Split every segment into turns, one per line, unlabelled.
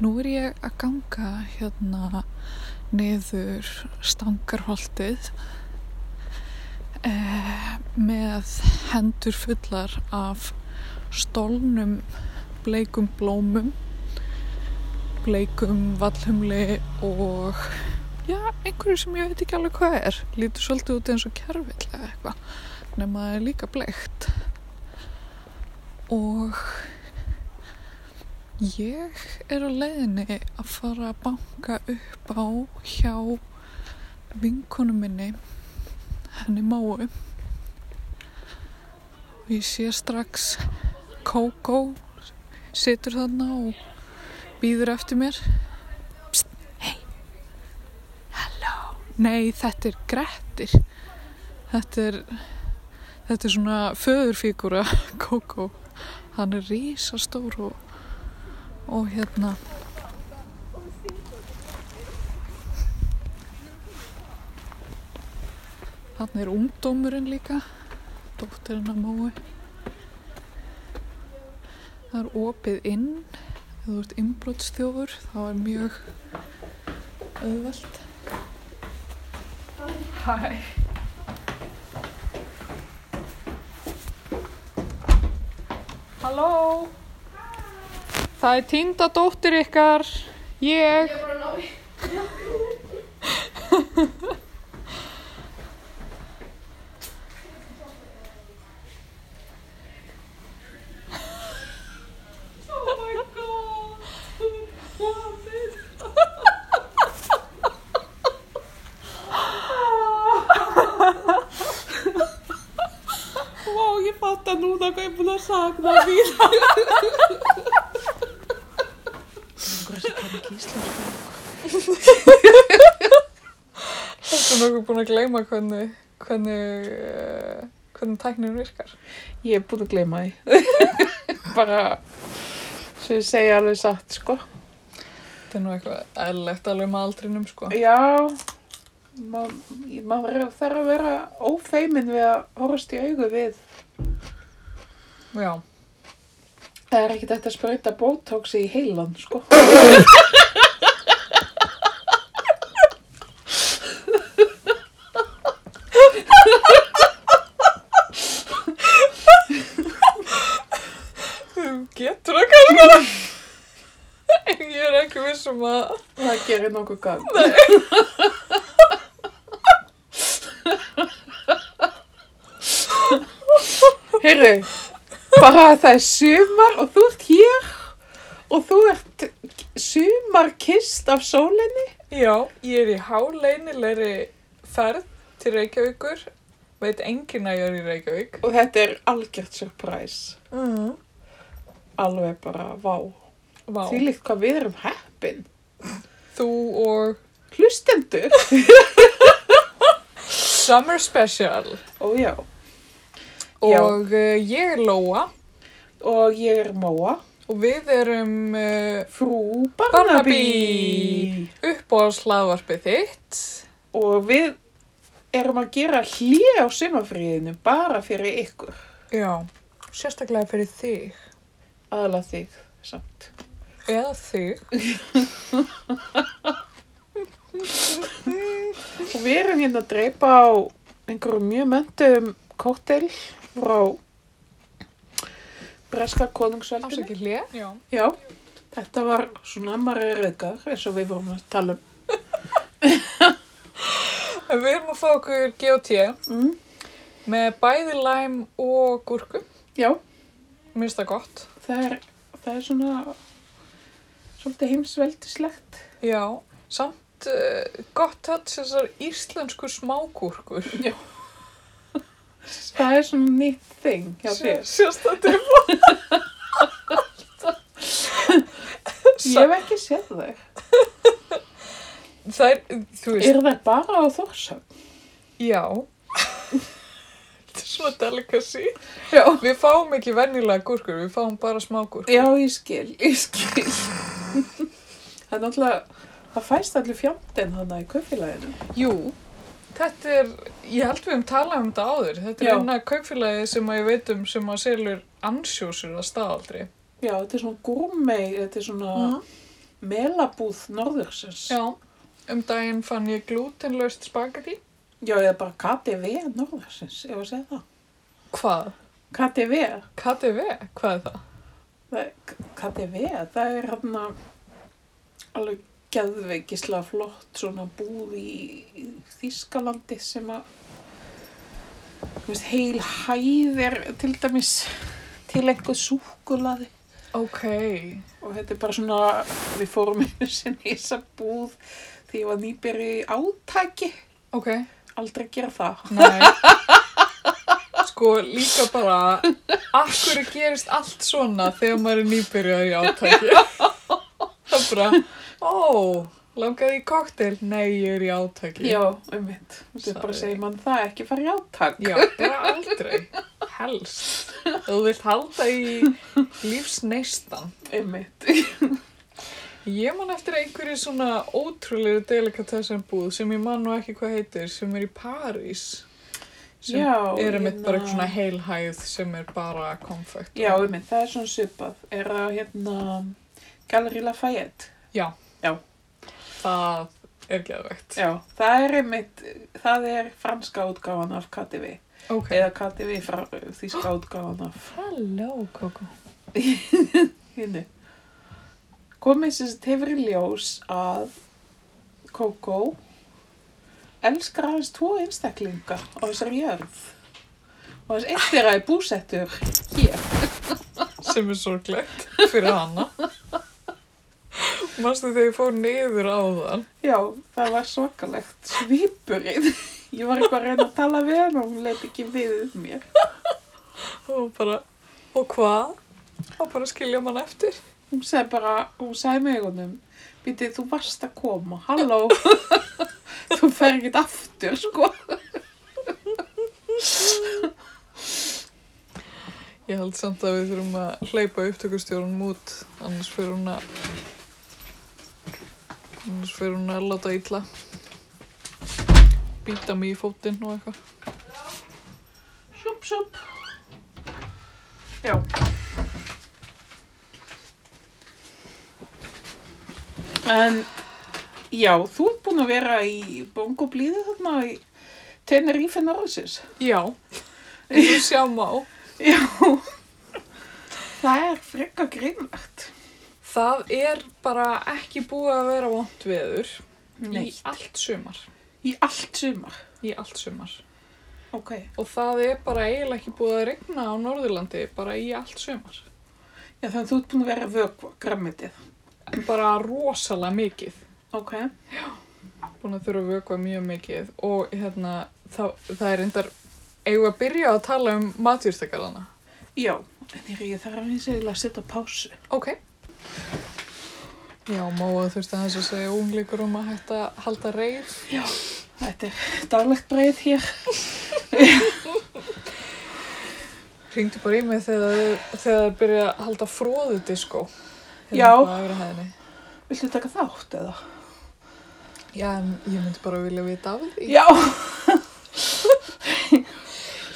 Nú er ég að ganga hérna niður stangarholtið eh, með hendur fullar af stólnum bleikum blómum, bleikum vallhumli og já, einhverju sem ég veit ekki alveg hvað er. Lítur svolítið út eins og kjærvill eða eitthvað, nema það er líka bleikt. Og Ég er á leiðinni að fara að banka upp á hjá vinkonu minni, henni Móu. Og ég sé strax Kókó situr þarna og býður eftir mér. Psst, hei, halló. Nei, þetta er Grettir. Þetta er, þetta er svona föðurfígúra Kókó. Hann er rísastór og og hérna Þannig er ungdómurinn líka dóttirinn að mói Það er opið inn ef þú ert innbrotsþjófur þá er mjög auðvelt Hæ Halló Það er týnda dóttir ykkar, ég.
Vá, ég fatta núna hvað ég er búin að sakna þín.
Þetta er nokkuð búin að gleyma hvernig, hvernig, eh, hvernig tæknin virkar.
Ég er búin að gleyma því. Bara, sem ég segja alveg satt, sko.
Þetta er nú eitthvað eðlilegt alveg með aldrinum sko.
Já, ma- ég- maður er- þarf að vera ófeimin við að horfast í augu við.
Já.
Það er ekkert þetta að sprauta botóksi í heilan, sko.
Þú getur það kannski bara. Ég er ekki viss um að...
Það gerir nokkuð gang. Heyrðu, bara að það er sumar og þú ert hér og þú ert sumarkist af sólinni.
Já, ég er í háleinilegri ferð til Reykjavíkur. Veit enginn að ég er í Reykjavík.
Og þetta er algjört surpræs.
Mm.
Alveg bara, vá.
Vá.
Því líkt hvað við erum heppin.
Þú og
Hlustendur.
Summer Special.
Ó já. Já.
Og uh, ég er Lóa
Og ég er Móa.
og við erum uh,
Frú
Barnaby.
Barnaby.
upp á slaðvarpið þitt.
og við erum að gera hlið á sumafríðinu bara fyrir ykkur,
Já, sérstaklega fyrir þig.
aðla þig samt.
Eða þig.
Og við erum hérna að dreipa á einhverjum mjög möndum kóttel frá Breska konungsveldinu.
Afsakið hlið. Já.
Já, þetta var svona marri rauðgar eins og við vorum að tala um.
En Við erum að fá okkur GOT
Mm.
með bæði læm og gúrku.
Já,
Mér finnst það gott.
það er, það er svona svolítið heimsveldislegt.
Já, samt uh, gott hans þessar íslensku smágúrkur.
Það er svona nýtt þing hjá þér.
Sérst að þetta er
Ég hef ekki séð þau.
Það er, þú veist,
Er það bara á Þórsöfn?
já. þetta er svona delicacy.
Já.
Við fáum ekki venjulega gúrkur, við fáum bara smágúrkur.
Já, ég skil, ég skil. það er náttúrulega, það fæst allir fjandinn hana í kaupfélaginu.
Jú, þetta er, ég held við um talað um þetta áður. Þetta er
Já.
eina kaupfélagi sem að ég veit um sem að selur ansjósur að staðaldri.
Já, þetta er svona gourmet, þetta er svona, melabúð norðursins.
Já, um daginn fann ég glútenlaust spagetti.
Já, eða bara KTV norðursins, ef að segja það.
Hvað?
KTV,
KTV? Hvað er það?
það er, K- KTV, það er hann alveg geðveikislega flott svona búð í í Þýskalandi sem að þú veist, heil hæð er til dæmis til einhver súkulaði
Ok.
og þetta er bara svona, við fórum einu sinni í þessa búð því ég var nýbyrju í átaki
Ok.
aldrei að gera það
Nei. Sko, líka bara, akkur gerist allt svona þegar maður er nýbyrjaður í átaki? Það er bara, ó, langaði í koktel? Nei, ég er í átaki.
Já, einmitt. Þetta er bara að
Sorry.
segja mann það ekki fara í átak.
Já, bara aldrei. Helst. Þú vilt halda í lífsneistan.
Einmitt.
Ég man eftir einhverju svona ótrúlegu delikatessan búð sem ég man nú ekki hvað heitir, sem er í París. Sem
Já,
er einmitt bara
hérna-
eitthvað svona heilhæð sem er bara konfekt.
Já, einmitt, það er svona svipað. Er það hérna Gallery Lafayette?
Það er geðvegt.
Já, það er einmitt, það er franska útgáfan af KTV.
Ok.
Eða KTV frá þýska útgáfan af
Halló, Koko.
hinnu. Komið sem þetta hefur í ljós að Coco elskar aðeins tvo einstaklinga á þessari jörð. Og þess eitt þeirra er búsettur hér.
Sem er sorglegt fyrir hana. Manstu þegar ég fór niður á þann?
Já, það var svakalegt svipurinn. Ég var eitthvað að reyna að tala við hann og hún leit ekki við mér.
Og bara, og hvað? Og bara skilja mann eftir.
Hún sagði bara, hún sagði með eigunum, býtið þú varst að koma, halló, þú fer ekkert aftur, sko.
Ég held samt að við þurfum að hleypa upptökustjórunum út, annars fyrir hún að annars fyrir hún að láta illa býta mig í fótinn og eitthvað
Sjúp, sjúp. Já. En, já, þú ert búin að vera í bongo blíðu þarna í Tenerife Norðsins.
Já, eins og sjá má
Já, það er frekka grimmert.
Það er bara ekki búið að vera vont veður í allt sumar
Í allt sumar.
í allt sumar
Ok.
og það er bara eiginlega ekki búið að regna á Norðurlandi bara í allt sumar
Já, þannig að þú ert búin að vera að vökva græmitið.
bara rosalega mikið
Ok.
búin að þurfa að vökva mjög mikið og hérna, það, það er endar eigum við að byrja að tala um matjúrstakarana
Já, en ég, ég þarf að eins og að setja á pásu.
ok já, Móa þurfti aðeins að segja ungleikur um að hætta að halda reyf
Þetta er daglegt breið hér.
ringdu bara í mig þegar þau- þegar það byrja að halda Hérna fróðudiskó
Já.
já,
Viltu taka þátt eða?
en ég myndi bara vilja vita af því
Já.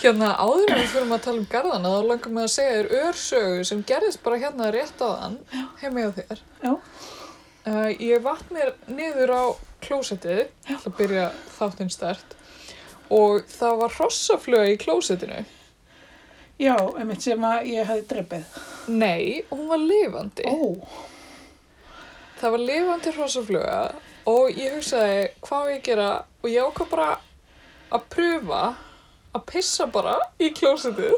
Hérna áður en við fyrir að tala um garðana þá langar mig að segja þér örsögu sem gerðist bara hérna rétt á þann heima hjá þér.
Já.
Uh, ég vatn mér niður á klósettið, ætla að byrja þáttinn stert og það var hrossaflöga í klósettinu.
Já, einmitt sem að ég hefði dreipið.
Nei, hún var lifandi.
Ó,
Það var lifandi hrossaflöga og ég hugsaði hvað á ég að gera og ég ákvað bara að pröfa að pissa bara í klósettið.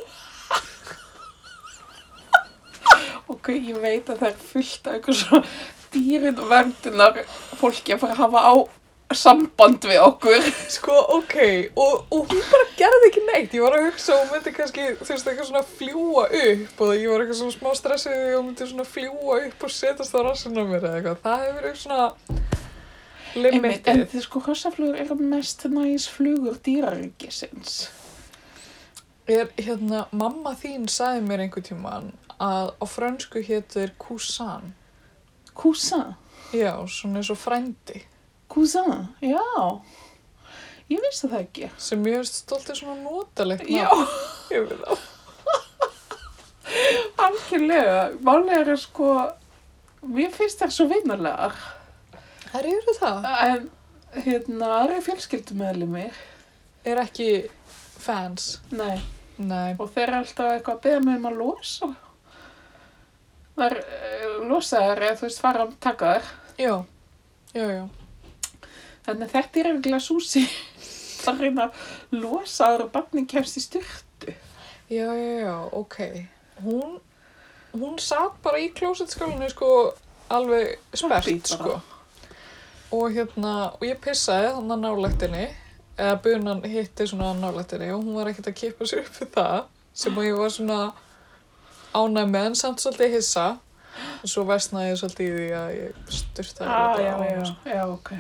ok, ég veit að það er fullt af einhver svo dýrin og verndunar fólki að fara að hafa á samband við okkur.
Sko, ok, og, og hún bara gerði ekki neitt, ég var að hugsa að hún myndi kannski, þú veist, eitthvað svona fljúa upp og ég var eitthvað svona smá stressið því að hún myndi svona fljúa upp og setast á rassinu á mér eða eitthvað, það hefur verið svona
Einmitt, en
limitið.
þið sko hrossaflugur eru mest næs flugur dýraríkisins.
Er, hérna, mamma þín sagði mér einhver tíman að á frönsku hétur cousin,
Kúsa,
já, svona eins og frændi,
kúsa, já. Ég vissi það ekki.
sem ég hefst stoltið svona notalegt
Já,
nafn yfir þá.
algjörlega. Málega er sko, mér finnst það svo vinnulegar.
Það eru það.
En hérna, aðra fjölskyldum meðlum mig.
Er ekki fans.
Nei,
Nei.
og þeir eru alltaf eitthvað að beða mig um að losa. Það er losa þær eða þú veist fara að taka þær.
Já. Já, já.
Þannig að þetta er eiginlega súsi. Það er reyna að losa aðra barni kemst í styrtu.
Já, já, já. Ok. Hún, hún satt bara í klósetskálinu sko alveg sperrt
Bít
sko.
bara.
Og hérna, og ég pissaði þannig nálættinni, eða bunan hitti svona nálættinni og hún var ekkert að kippa sér upp við það sem að ég var svona ánæg með en samt svolítið hissa. Og svo vestnaði ég svolítið í því að ég styrtaði
Ah, já,
á hana,
já,
sko.
já, ok.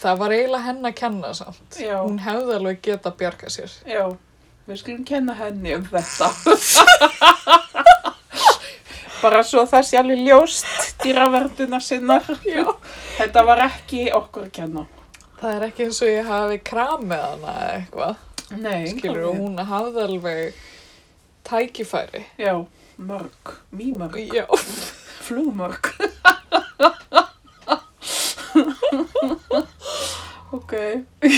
Það var eiginlega henn að kenna samt.
Já.
Hún hefði alveg getað bjarga sér.
Já, við skulum kenna henni um þetta. Bara svo það sé alveg ljóst dýraverðuna sinnar.
Já.
Þetta var ekki okkur að kenna.
Það er ekki eins og ég hafi kramið hana eða eitthvað.
Nei,
Skilur, og hún hafði alveg tækifæri.
Já, mörg, mýmörg,
Já.
flugmörg. ok.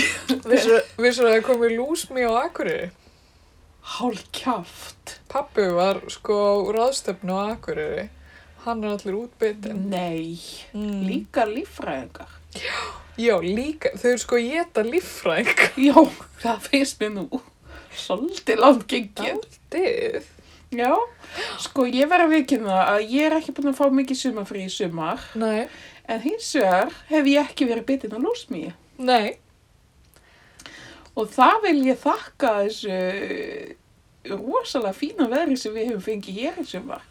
Vissu vissu að það komið lúsmi á Akureyri.
Hálf kjaft.
Pappi var sko á ráðstöfnu á Akureyri. Hann er allir útbyttin.
Nei,
Mm.
líka líffræðingar.
Já, líka. Þau eru sko geta líffræk.
Já, það finnst mér nú. Svolítið langt gengið.
Dið.
Já, sko ég verð að viðkynna að ég er ekki búin að fá mikið sumafrí í sumar
Nei.
en hins vegar hef ég ekki verið bitin að lúsmi
Nei.
og það vil ég þakka þessu rosalega fína veðri sem við hefum fengið hér í sumar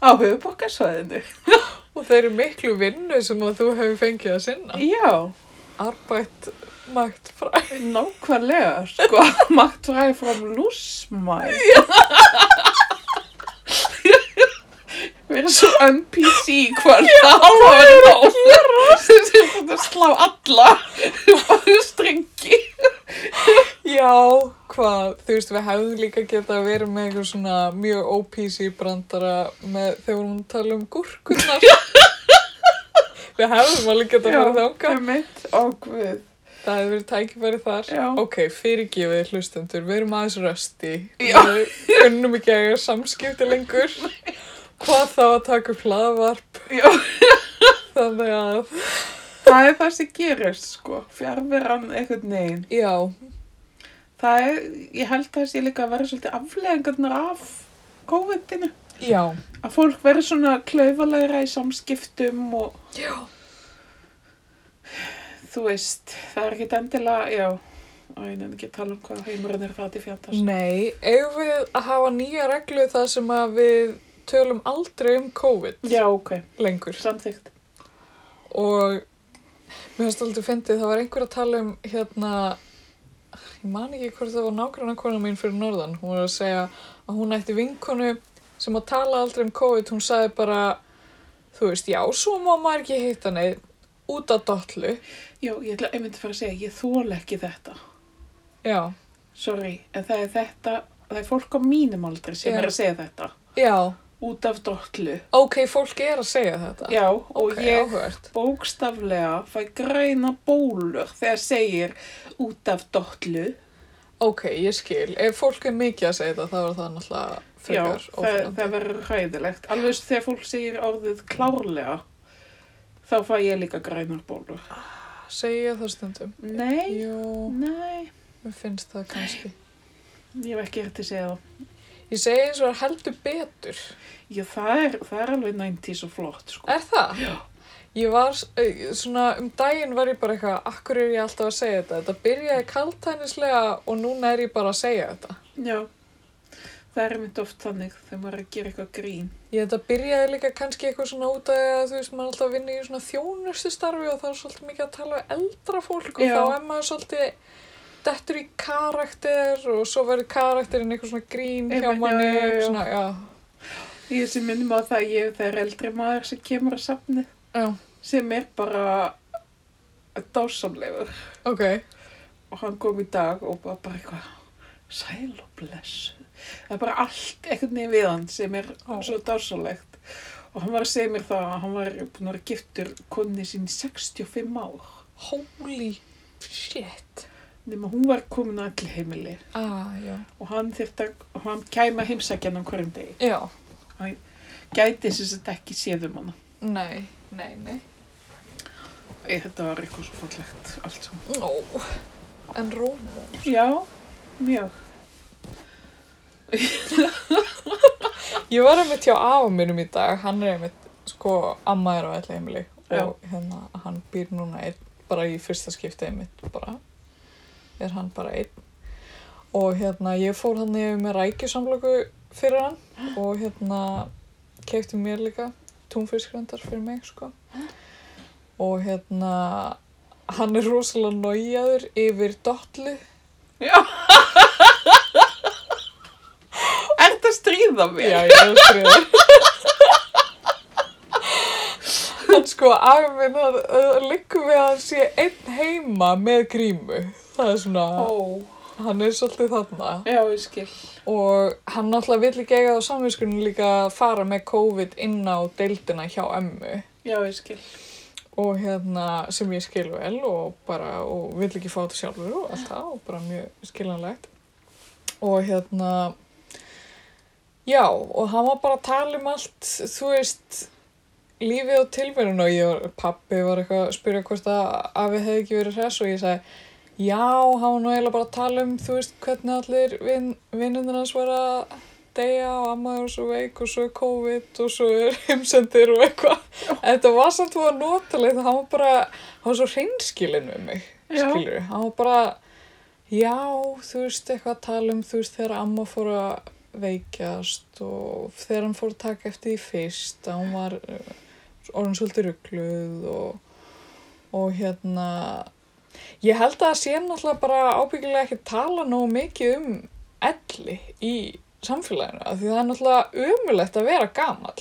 á höfuborgarsvæðinu.
Og þeir eru miklu vinnu sem að þú hefur fengið að sinna.
Já,
Arbeitt magt fræ.
nákvæmlega, sko, magt fræði fram lúsmæ. Já. Við erum svo NPC hvað það á að vera á. Sem sem þetta slá alla bara strengi.
Já, hvað, þú veist, við hefðum líka geta verið með eitthvað svona mjög OPC brandara með þegar hún tala um gúrkunar. við hefðum alveg geta farið þánga.
mitt og guð.
Það hefur verið tækifæri þar.
Já.
Ok, fyrirgefið hlustendur, við erum aðeins rösti.
Já.
Við kunnum ekki að eiga samskipti lengur. Hvað þá að taka upp hlaðvarp,
Já,
þannig að,
það er það sem gerist sko, fjárveran einhvern veginn.
já,
Það er, ég held að það sé líka að vera svolítið afleðingarnar af COVID-inu.
já.
Að fólk verður svona klaufalegra í samskiptum og...
Já.
Þú veist, það er ekkit endilega, já, Æ, ég nefn ekki að tala um hvað heimurinn er það til fjandast.
Nei, eigum við að hafa nýja reglu þar sem að við tölum aldrei um COVID
Já, ok,
lengur
samþygt.
og mér finnst aldrei fyndið, það var einhver að tala um hérna, ég man ekki hvort það var nákvæmna kona mín fyrir norðan, hún var að segja að hún ætti vinkonu sem að tala aldrei um COVID, hún sagði bara, þú veist, já, svo má maður ekki hitta neitt út af dollu,
Já, ég ætla einmitt að fara að segja, ég þóla ekki þetta.
já,
Sorry, en það er þetta, það er fólk á mínum aldri sem
Já.
er að segja þetta.
já,
Út af dottlu.
ok, fólk er að segja þetta,
Já, og
ok,
ég
áhvert,
bókstaflega fæ græna bólur þegar segir út af dottlu.
Ok, ég skil. Ef fólk er mikið að segja þetta, þá er það náttúrulega
Já,
frekar
það,
óþolandi.
það verður hræðilegt. Alveg eins og þegar fólk segir orðið klárlega, þá fæ ég líka grænar bólur.
Segja ég það stundum?
Nei,
Jú,
nei,
mér finnst það kannski.
ég hef ekki hægt að segja það.
Ég segi eins og er heldur betur.
Já, það er, það er alveg 90s og flott, sko.
Er það? Já. Ég var, s- eh, svona, um daginn var ég bara eitthvað, akkur er ég alltaf að segja þetta? Þetta byrjaði kaltænislega og núna er ég bara að segja þetta.
Já, það er mitt oft þannig þegar maður er að gera eitthvað grín.
Ég þetta byrjaði líka kannski eitthvað svona út af því að þú veist maður alltaf vinni í svona þjónustu starfi og það er svolítið mikið að tala við eldra fólk og
Já.
þá er maður svolítið dettur í karakter og svo verður karakterinn eitthvað svona grín hjá
Einmitt, já,
manni
já, já, já.
svona, já,
Ég sem minnum á það að ég, það er eldri maður sem kemur að safni
já,
sem er bara dásamlegur.
ok,
og hann kom í dag og bara, bara eitthvað sæl og blessu það er bara allt einhvern veginn við hann sem er
Ó.
svo dásalegt og hann var að segja mér það að hann var búin að vera giftur konni sín í 65 ár
Holy shit.
nema hún var komin að allir heimili
Ah, já.
og hann þyrfti að, og hann kæma heimsækjan á hverjum degi
Já,
gæti sem þetta ekki séð um hana
nei, nei, nei.
Ég, þetta var eitthvað svo fallegt allt saman
Nó. En Rómó.
já, mjög
Ég var einmitt hjá afa mínum í dag, hann er einmitt, sko, amma er á ætla heimili
Já.
og hérna, hann býr núna einn, bara í fyrsta skipti einmitt, bara, er hann bara einn og hérna, ég fór hann yfir með rækjusamlöku fyrir hann og hérna, keipti mér líka túnfiskrendar fyrir mig, sko og hérna, hann er rosalega nójaður yfir dollu
já er þetta stríða mér?
Já, ég er skriðið. En sko, afi minn, það það liggur við að hann sé einn heima með grímu. Það er svona,
ó,
hann er svolítið þarna.
já, ég skil
Og hann náttúrulega vill ekki eiga á samvinskunum líka að fara með COVID inn á deildina hjá emmu.
já, ég skil
Og hérna, sem ég skil vel og bara, og vill ekki fá þetta sjálfur og allt það og bara mjög skiljanlegt. og hérna já og hann var bara að tala um allt þú veist lífið og tilverun og ég var pappi var eitthvað að spyrja hvort að afi hefði ekki verið hress og ég sagði já hann var nú eiginlega bara að tala um þú veist hvernig allir vin, vinnundir hans var að deyja og amma er svo veik og svo er COVID og svo er heimsendir og eitthvað en þetta var samt þú að notaleg það hann var bara, hann var svo hreinskilinn við mig
Já.
skilur, hann var bara Já, þú veist, eitthvað að tala um, þú veist, þegar amma fór að veikjast og þegar hann fór að taka eftir því fyrst að hún var eh, orðin svolítið ruggluð og, og hérna, ég held að það sé náttúrulega bara ábyggilega ekki tala nógu mikið um elli í samfélaginu af því það er náttúrulega umulegt að vera gamall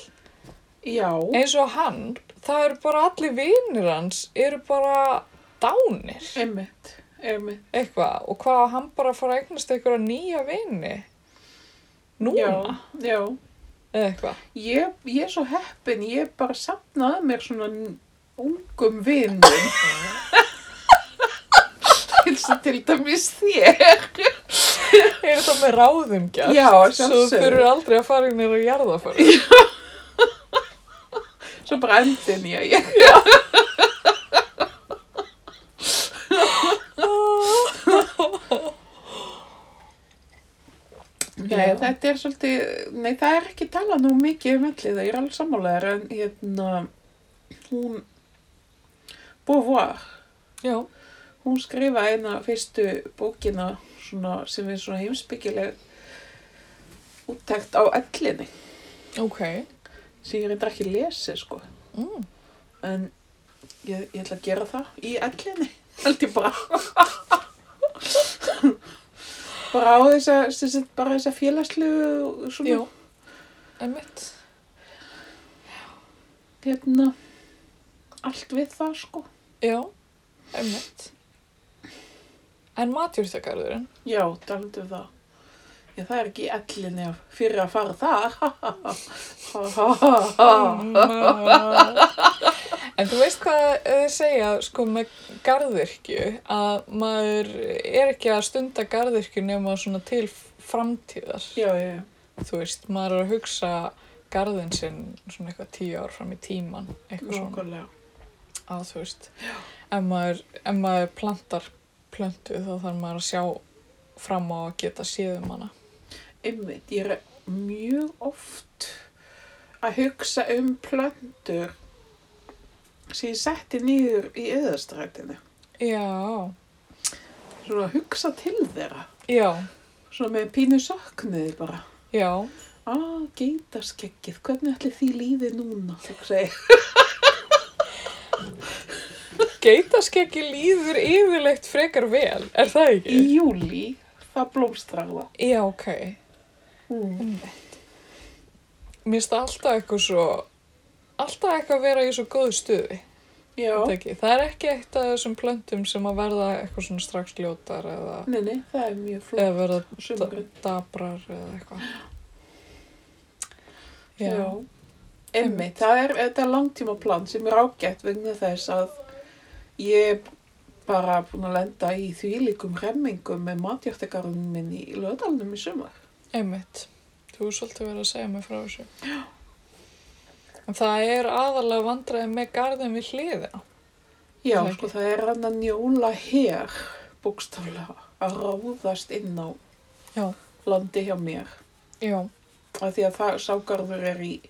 já,
eins og hann, það eru bara allir vinir hans, eru bara dánir
einmitt einmitt,
eitthvað og hvað á hann bara að fara að eignast einhverja nýja vini núna
já, já
eða eitthvað
Ég, ég er svo heppin, ég bara sapnaði mér svona n- ungum vinum. Eins og til dæmis þér.
er það með ráðum gert
Já,
svo þú
sjálfsögðu.
þurfur aldrei að fara inn og jarða fyrir
Svo bara endin ég. ég.
Ah.
Nei,
Já.
þetta er svolítið, nei það er ekki talað nú mikið um ellið, það er alveg sammálaðar en hérna, hún, Beauvoir,
já,
hún skrifaði eina fyrstu bókina svona, sem er svona heimsbyggileg úttækt á ellinni.
ok
sem ég reyndar ekki lesið sko
mm.
en ég, ég ætla að gera það í ellinni held ég bara bara á þess að sem sagt, bara þess að félagslegu svona
já, einmitt
hérna allt við það sko
já, einmitt en matjúrtakarðurinn
já, talandi um það Já, það er ekki í ellinni að- fyrir að fara þar.
en þú veist hvað þið segja sko með garðirkju að maður er ekki að stunda garðirkju nema svona til framtíðar
já, já, já.
þú veist, maður er að hugsa garðin sinn svona eitthvað tíu ár fram í tíman eitthvað svona
nákvæmlega.
að þú veist ef maður, ef maður plantar plöntu þá þarf maður að sjá fram á að geta séðum hana
Einmitt, ég er mjög oft að hugsa um plöntur sem ég setti niður í eðastrætinu.
já,
Svona að hugsa til þeirra.
já,
Svona með pínu söknuði bara.
já
Á, geitaskeggið, hvernig ætli því líði núna? hugsa ég.
geitaskeggji líður yfirleitt frekar vel, er það
Í
ekki?
júli, það blómstrar það.
Já, ok.
Mm.
Mér finnst það alltaf eitthvað svo, alltaf eitthvað að vera í svo góðu stuði,
Já,
þetta ekki? Það er ekki eitt af þessum plöntum sem að verða eitthvað svona strax ljótar eða,
nei, nei, það er mjög flott.
eða verða
Sumrin.
da- dabrar eða eitthvað.
Já.
Já,
Emmi, það er þetta er langtímaplan sem er ágætt vegna þess að ég er bara búin að lenda í þvílíkum remmingum með matjartagarðunum minn í löðalunum í sumar.
Einmitt. Þú er svolítið verið að segja mig frá þessu. En það er aðalega vandræði með garðin við hliðina.
Já,
Það er
sko það er hann að njóla hér, bókstaflega, að ráðast inn á
Já.
landi hjá mér.
Já,
Af því að það ságarður er í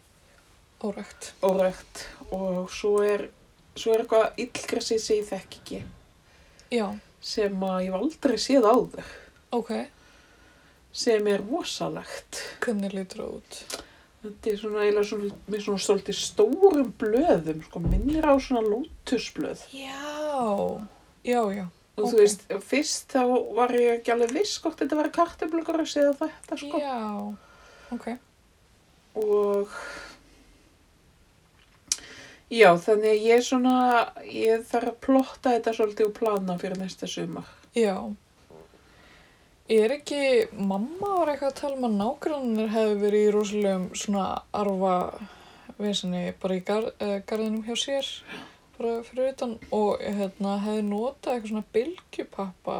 órækt.
órekt og svo er, svo er eitthvað illgressið sem ég þekk ekki,
Já,
sem að ég hef aldrei séð áður,
ok.
sem er vosalegt.
Hvernig lítur það út?
Þetta er svona eiginlega svona, með svona stoltið stórum blöðum, sko, minnir á svona lótusblöð.
Já. Já, já.
Og
Ok.
þú veist, fyrst þá var ég ekki alveg viss hvort þetta var kartöflugur að segja þetta, sko.
Já. Ok.
og já, þannig að ég svona ég þarf að plotta þetta svolítið og plana fyrir næsta sumar
Já. Er ekki, mamma var eitthvað að tala um að nágrannir hefði verið í rosalegum svona arfa vesinni bara í gar, uh, garðinum hjá sér bara fyrir utan og hérna hefði notað eitthvað svona bylgjupappa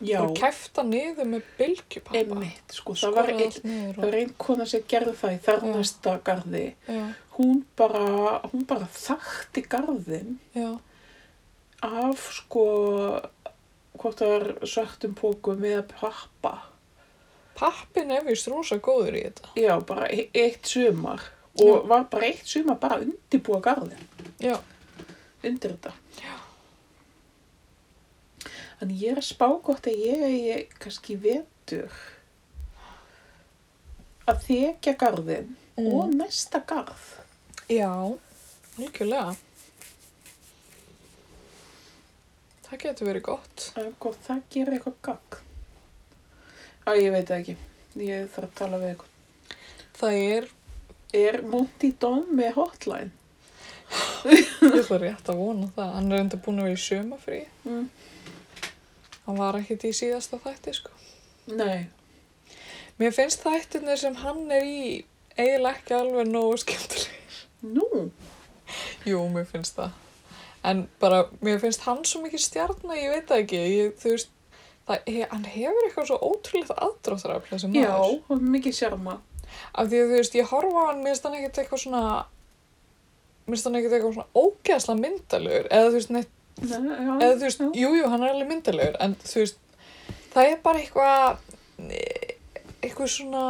já,
bara kæfta niður með bylgjupappa
einmitt, sko, það var, ein,
niður
það
og,
var ein kona sem gerði það í þar
Já.
næsta garði
já,
hún bara, hún bara þakti garðin
já,
af sko hvort það er svörtum pókum eða pappa
pappin er vist rosa góður í þetta
já, bara e- eitt sumar og var bara eitt sumar bara að undirbúa garðin
já,
undir þetta. Já. En ég er að spá gott að ég eigi kannski í vetur að þekja garðin
Mm.
og næsta garð.
já algjörlega það getur verið gott
Það er gott, það gerir eitthvað gagg. Æ, ég veit það ekki. Ég þarf að tala við eitthvað.
það er
Er Monty Don með hotline?
Ég ætla rétt að vona það. Hann er enda búin að vera í sömafrí.
Mm.
Hann var ekkert í síðasta þætti, sko.
Nei.
Mér finnst þættirnir sem hann er í eiginlega ekki alveg nógu skemmtileg.
Nú?
Jú, mér finnst það. En bara, mér finnst hann svo mikið stjarnar, ég veit það ekki. Ég, þú veist, það, he, hann hefur eitthvað svo ótrúlegt aðdróttarafl þessi
Já,
maður.
og mikið sjarma.
Af því að þú veist, ég horfa á hann, mér finnst hann ekkert eitthvað svona, mér finnst hann ekkert eitthvað svona ógeðslega myndalegur. Eða þú veist, neitt
Nei, já,
eða þú veist,
já.
jújú, jú, hann er alveg myndalegur en þú veist, það er bara eitthvað eh, eitthvað svona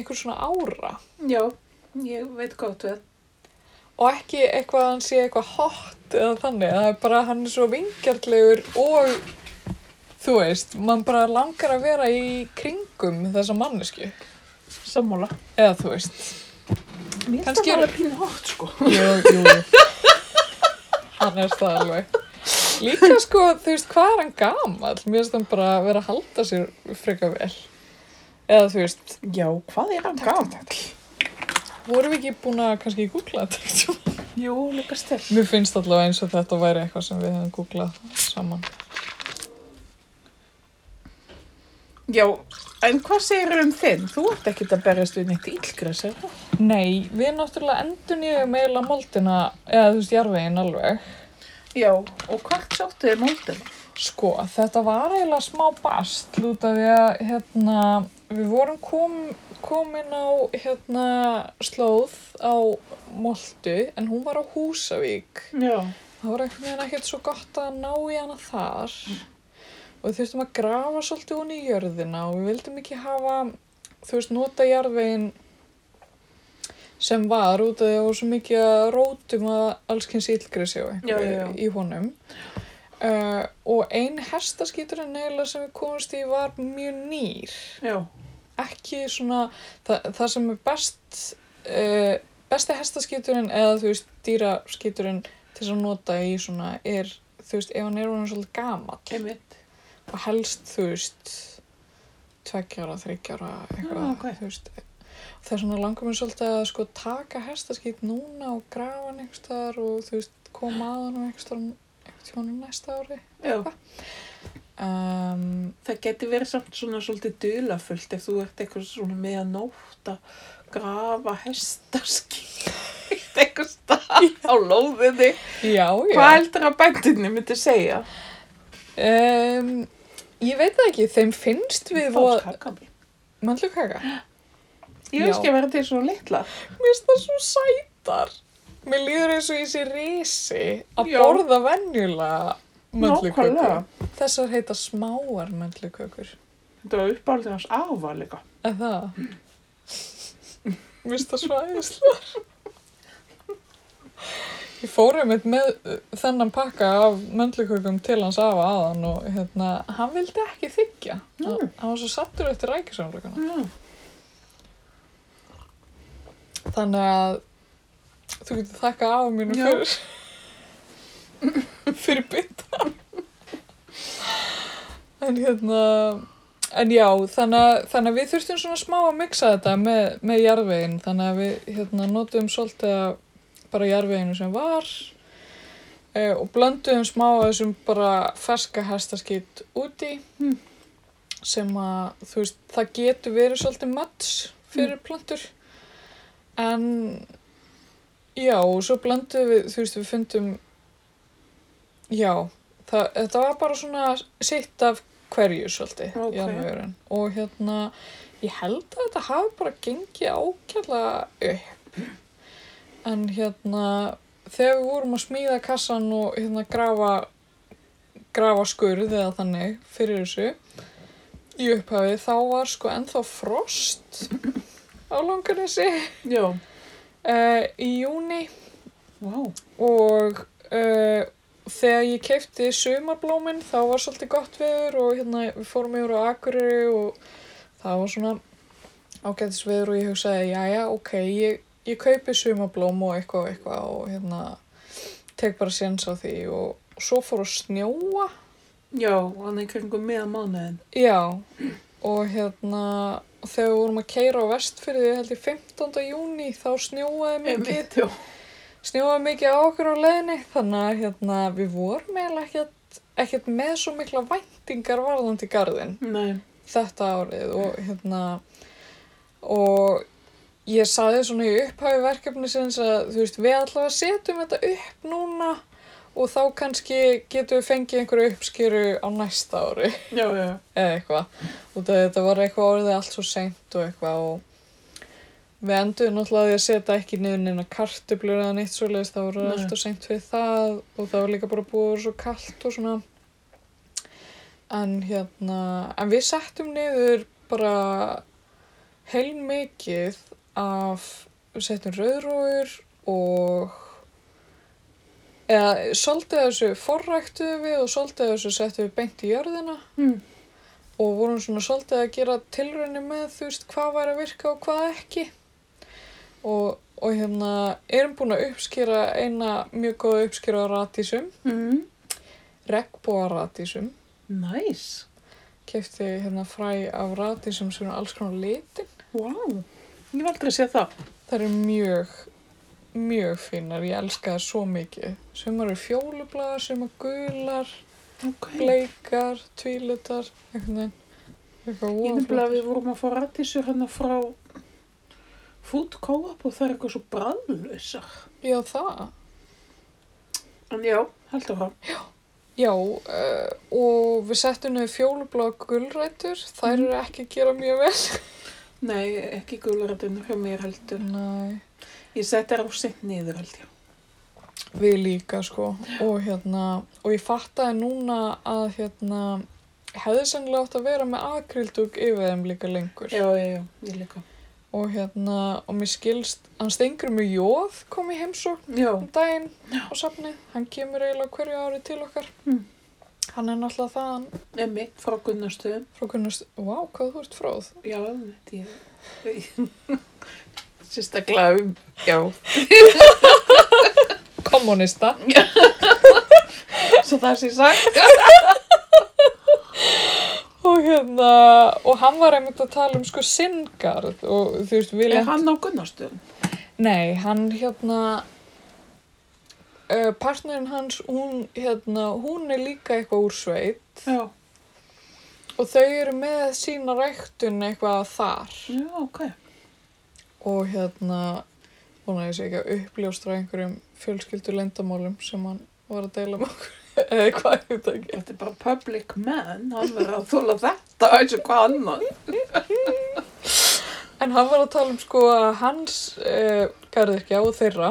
eitthvað svona ára
Já, ég veit gott við.
og ekki eitthvað að hann sé eitthvað hot eða þannig, það er bara hann er svo vingjartlegur og þú veist, mann bara langar að vera í kringum þessa mannesku
Sammála.
eða þú veist,
Mér finnst
Kannski
það
er-
bara pínu hot, sko.
jú, jú hann er það alveg líka sko, þú veist, hvað er hann gamall mér finnst hann bara vera að halda sér frekar vel eða þú veist,
Já, hvað er hann gamall?
Vorum við ekki búin að kannski googla þetta? einhvern tímann?
Jú, líka stelp.
Mér finnst allavega eins og þetta væri eitthvað sem við hefum googlað saman.
Já, en hvað segir um þinn? Þú ert ekkert að berjast við neitt ílgræs, er það?
Nei, við náttúrulega endur nýjum eiginlega moldina, eða þú veist, jarðveginn alveg.
Já, og hvert sáttu þið móldum?
Sko, þetta var eiginlega smá bast út af því að hérna, við vorum kom, komin á hérna, slóð á Moldu en hún var á Húsavík.
Já.
Það var einhvern veginn ekkert svo gott að ná í hana þar og við þurftum að grafa svolítið hún í jörðina og við vildum ekki hafa, þú veist, nota jarðveginn sem var út af því að það var svo mikið að rótum að allskins illgrisjá
Já, já, já.
í honum uh, og ein hestaskíturinn neila sem við komumst í var mjög nýr
Já.
ekki svona það, það sem er best uh, besti hestaskíturinn eða þú veist dýraskíturinn til þess að nota í svona er þú veist ef hann er hann svolítið gamall
Einmitt.
og helst þú veist tveggjara, þryggjara eitthvað
Ah, ok.
þú veist það er svona langar mér svolítið að sko taka hestaskít núna og grafa hann einhvers staðar og þú veist koma að hann einhvers staðar einhvern tímanum næsta ári
Já.
um,
Það geti verið samt svona svolítið dulafullt ef þú ert eitthvað svona með að nóta, grafa, hestaskýr. eitthvað stað á lóðinni.
Já, já.
Hvað heldur að bændinni myndi segja?
Um, ég veit það ekki, þeim finnst við voða...
kakami.
Möndlukaka?
Ég
Já.
veist ekki að vera til svona litla.
Mér finnst það svo sætar. Mér líður eins og ég sé risi að
Já.
borða venjulega möndlukökur.
Nákvæmlega.
Þessar heita smáar möndlukökur.
Þetta var uppáhaldið hans afa líka.
Er það? Mér finnst það svo æðislega. Ég fór einmitt með uh, þennan pakka af möndlukökum til hans afa aðan og hérna, hann vildi ekki þykja.
Mm.
Hann hann var svo sattur eftir rækisamlökunum.
Já.
Þannig að þú getur þakka af mínu
Já.
fyrir fyrir bytta. en hérna, en já, þannig að, þannig að við þurftum svona smá að mixa þetta með, með jarðveginn. Þannig að við hérna notum svolítið að bara jarðveginu sem var eh, og blönduðum smá að þessum bara ferska hestaskýtt úti
Mm.
sem að þú veist, það getur verið svolítið matts fyrir plöntur en já, og svo blönduðum við þú veist, við fundum já, það, þetta var bara svona sitt af hverju svolítið
Ókei.
jarðvegurinn. og hérna ég held að þetta hafi bara gengið ákjörlega upp en hérna þegar við vorum að smíða kassan og hérna grafa grafa skurð eða þannig fyrir þessu í upphafi þá var sko ennþá frost á langanessi
Já.
uh, í júni
Vá.
og uh, þegar ég keipti sumarblómin þá var svolítið gott veður og hérna við fórum yfir á Akureyri og það var svona ágætis veður og ég hugsaði jæja ok, ég, ég kaupi sumarblóm og eitthvað og eitthvað og hérna tek bara séns á því og svo fór að snjóa
Já, hann er kringum meðan mánuðin.
Já, og hérna þegar við vorum að keira á vestfyrði held ég 15. júni þá snjóaði mikið,
já.
snjóaði mikið á okkur á leiðinni þannig að hérna, við vorum eiginlega ekkert, ekkert með svo mikla væntingar varðandi garðin
Nei.
þetta árið og hérna og ég saði svona í upphafi verkefnisins að þú veist við allavega setjum þetta upp núna og þá kannski getum við fengið einhverju uppskýru á næsta ári
Já, já, já.
eða eitthvað út af því að þetta var eitthvað orðið allt svo seint og eitthvað og við enduðum náttúrulega á því að setja ekki niður neina kartublur eða neitt svoleiðis það voru
Nei.
allt og seint fyrir það og það var líka bara búið að vera svo kallt og svona en hérna en við settum niður bara heil mikið af við settum rauðróur og eða svolítið af þessu forræktuðum við og svolítið af þessu settum við beint í jörðina
Mm.
og vorum svona svolítið að gera tilraunir með þú veist hvað væri að virka og hvað ekki og, og hérna erum búin að uppskýra eina mjög góða uppskýra á ratísum
Mm.
regnbúa ratísum
Næs.
kefti hérna fræ af ratísum sem er alls konar litin
Vá. Ég var aldrei að segja það.
það eru mjög mjög fínar, ég elska það svo mikið sumar eru fjólublaðar, sumar gular
Ok.
bleikar, tvílutar eitthvað, eitthvað
Ég
voða
nefnilega
flottar.
við vorum að fá rattísur hérna frá Food Co-op og það er eitthvað svo bræðlausar.
já það
En já, heldur það.
Já, uh, og við settum niður fjólublá gulrætur, þær
Mhm.
eru ekki að gera mjög vel.
Nei, ekki gulrættin hjá mér heldur.
Nei,
Ég seti þær á sitt niður held ég.
við líka sko og hérna, og ég fattaði núna að hérna, hefði sennilega átt að vera með akrildug yfir þeim líka lengur.
Já, já, já, ég líka.
Og hérna, og mér skilst, hann stengur mjög jóð kom í heimsókn
Já,
um daginn á safnið, hann kemur eiginlega á hverju ári til okkar.
Mm.
Hann er náttúrulega þaðan
emmi, frá Gunnarstöðum.
frá kunnast, vá, hvað þú ert fróð.
Já, þetta ég. Sérstaklega um, já,
Kommunista.
svo það sé sagt.
Og hérna, og hann var einmitt að tala um sko sinngarð og þú veist, við
Er
lent...
hann á Gunnarstöðum?
Nei, hann hérna, uh, partnerinn hans, hún, hérna, hún er líka eitthvað úr sveit
Já,
og þau eru með sína ræktun eitthvað þar
já, ok.
og hérna, og vona að ég sé ekki að uppljóstra einhverjum fjölskyldu lendamálum sem hann var að deila með okkur eða hvað ég veit ekki
Þetta er bara public man, hann verður að þóla þetta eins og hvað annan.
En hann var að tala um sko að hans eh, garðirkja og þeirra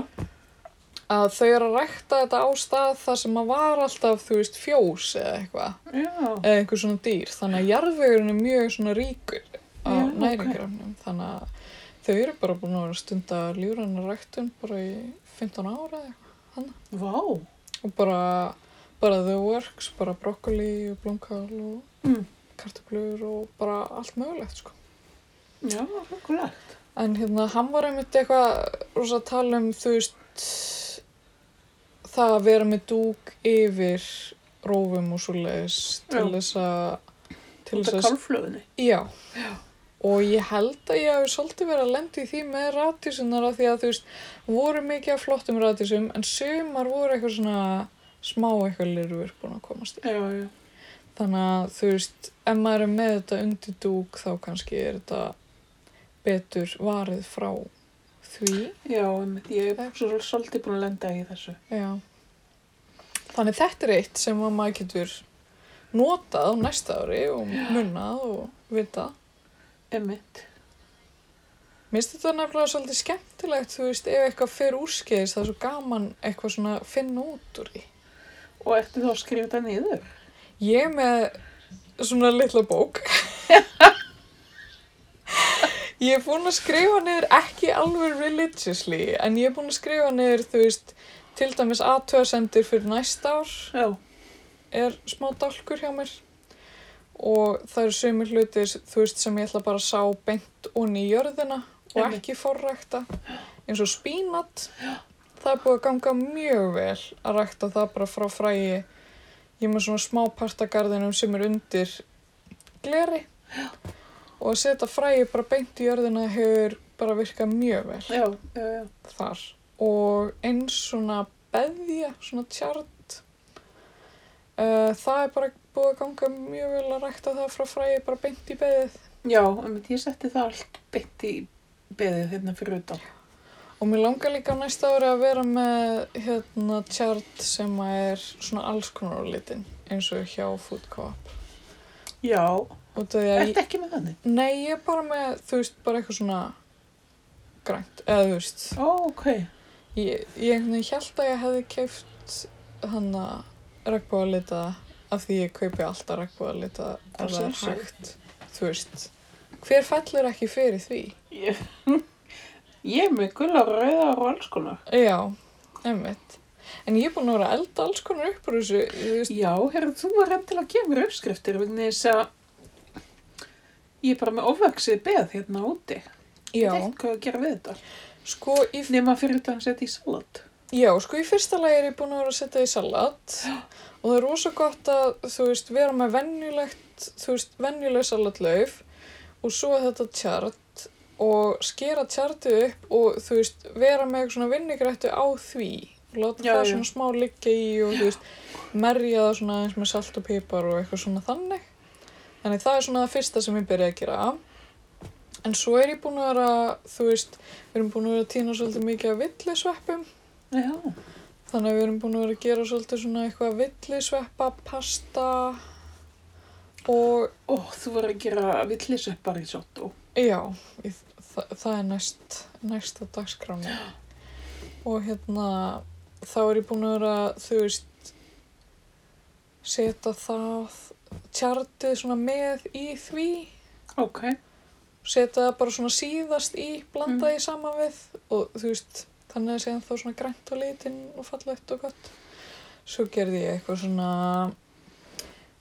að þau eru að rækta þetta á stað þar sem að var alltaf, þú veist, fjós eða eitthvað,
Já,
eða einhver svona dýr þannig að jarðvegurinn er mjög svona ríkur á
Já,
yeah,
ok.
þannig að þau eru bara búin að vera að stunda lífræna ræktun bara í 15 ára eða eitthvað
vá.
og bara, bara the works, bara brokkoli og blómkál og
Mm.
kartöflur og bara allt mögulegt sko
Já, hlugulegt.
En hérna, hann var einmitt eitthvað rosa að tala um, þú veist, það að vera með dúk yfir rófum og svo leiðis til
Já.
þess að, til
Út af
þess að,
kálflögunni.
já. Og ég held að ég hafi svolítið verið að lenda í því með radísunar af því að, þú veist, voru mikið af flottum radísum en sumar voru eitthvað svona smá eitthvað lirfur búin að komast í.
Já, já.
Þannig að, þú veist, ef maður er með þetta undir dúk þá kannski er þetta betur varið frá því.
Já, einmitt, ég er svo svolítið búin að lenda í þessu.
Já. Þannig þetta er eitt sem að maður getur notað á næsta ári og munnað og vitað.
Einmitt.
Mér finnst þetta nefnilega svolítið skemmtilegt, þú veist, ef eitthvað fer úrskeiðis það er svo gaman eitthvað svona að finna út úr því.
Og ertu þá að skrifa þetta niður?
Ég er með svona litla bók. ég er búin að skrifa niður ekki alveg religiously, en ég er búin að skrifa niður, þú veist, til dæmis aðtöðasendir fyrir næsta ár.
Já.
er smá dálkur hjá mér og það eru sömur hlutir þú veist sem ég ætla bara að sá beint onni í jörðina og
Einmitt.
ekki forrækta eins og spínat það er búið að ganga mjög vel að rækta það bara frá fræi ég er með svona smá partagarðinum sem er undir gleri og að setja fræi bara beint í jörðina hefur bara virkað mjög vel
Já, já, já.
þar og eins svona beðja, svona tjart uh, það er bara búið að ganga mjög vel að rækta það frá fræði bara beint í beðið
Já, einmitt, ég setti það allt beint í beðið hérna fyrir utan.
og mér langar líka á næsta ári að vera með hérna tjart sem að er svona alls konar á litin eins og hjá Food Co-op
Já,
og það er,
ertu ekki með þannig?
nei ég er bara með þú veist bara eitthvað svona grænt, eða þú veist
Ó, ok.
Ég, ég einhvern veginn held að ég hefði keift hann að regnbúðalita af því ég kaupi alltaf regnbúðalita
Að
ef það er
sjálfsögðu.
hægt. Þú veist, hver fellur ekki fyrir því?
Ég, ég er með gula rauðar og alls konar.
Já, emmitt. En ég er búin að vera að elda alls konar upp úr þessu, þú veist,
Já, herru, þú var reynd til að gefa mér uppskriftir vegna þess að ég er bara með ofvaksið beð hérna úti. Ég
já,
veit ekki hvað að gera við þetta.
sko í,
Nefna fyrir þetta að setja í salat.
já, sko í fyrsta lagi er ég búin að vera að setja í salat og það er rosa gott að, þú veist, vera með venjulegt, þú veist, venjuleg salatlauf og svo þetta tjart og skera tjartið upp og þú veist, vera með eitthvað svona vinnigrættu á því láta
Já,
það
já.
svona smá liggja í og þú veist, merja það svona eins með salt og pipar og eitthvað svona þannig þannig það er svona það fyrsta sem ég byrja að gera en svo er ég búin að vera þú veist, við erum búin að vera að týna svolítið mikið af villisveppum
Já,
þannig að við erum búin að vera að gera svolítið svona eitthvað villisveppa, pasta og
ó, þú var að gera villisöppar í sotto.
Já, ég, þa það er næst, næsta dagskráni. Og hérna, þá er ég búin að vera, þú veist, setja það, tjardið svona með í því,
Ok,
setja það bara svona síðast í, blanda því saman við og þú veist, þannig að segja þá svona grænt og litinn og fallegt og gott. Svo gerði ég eitthvað svona,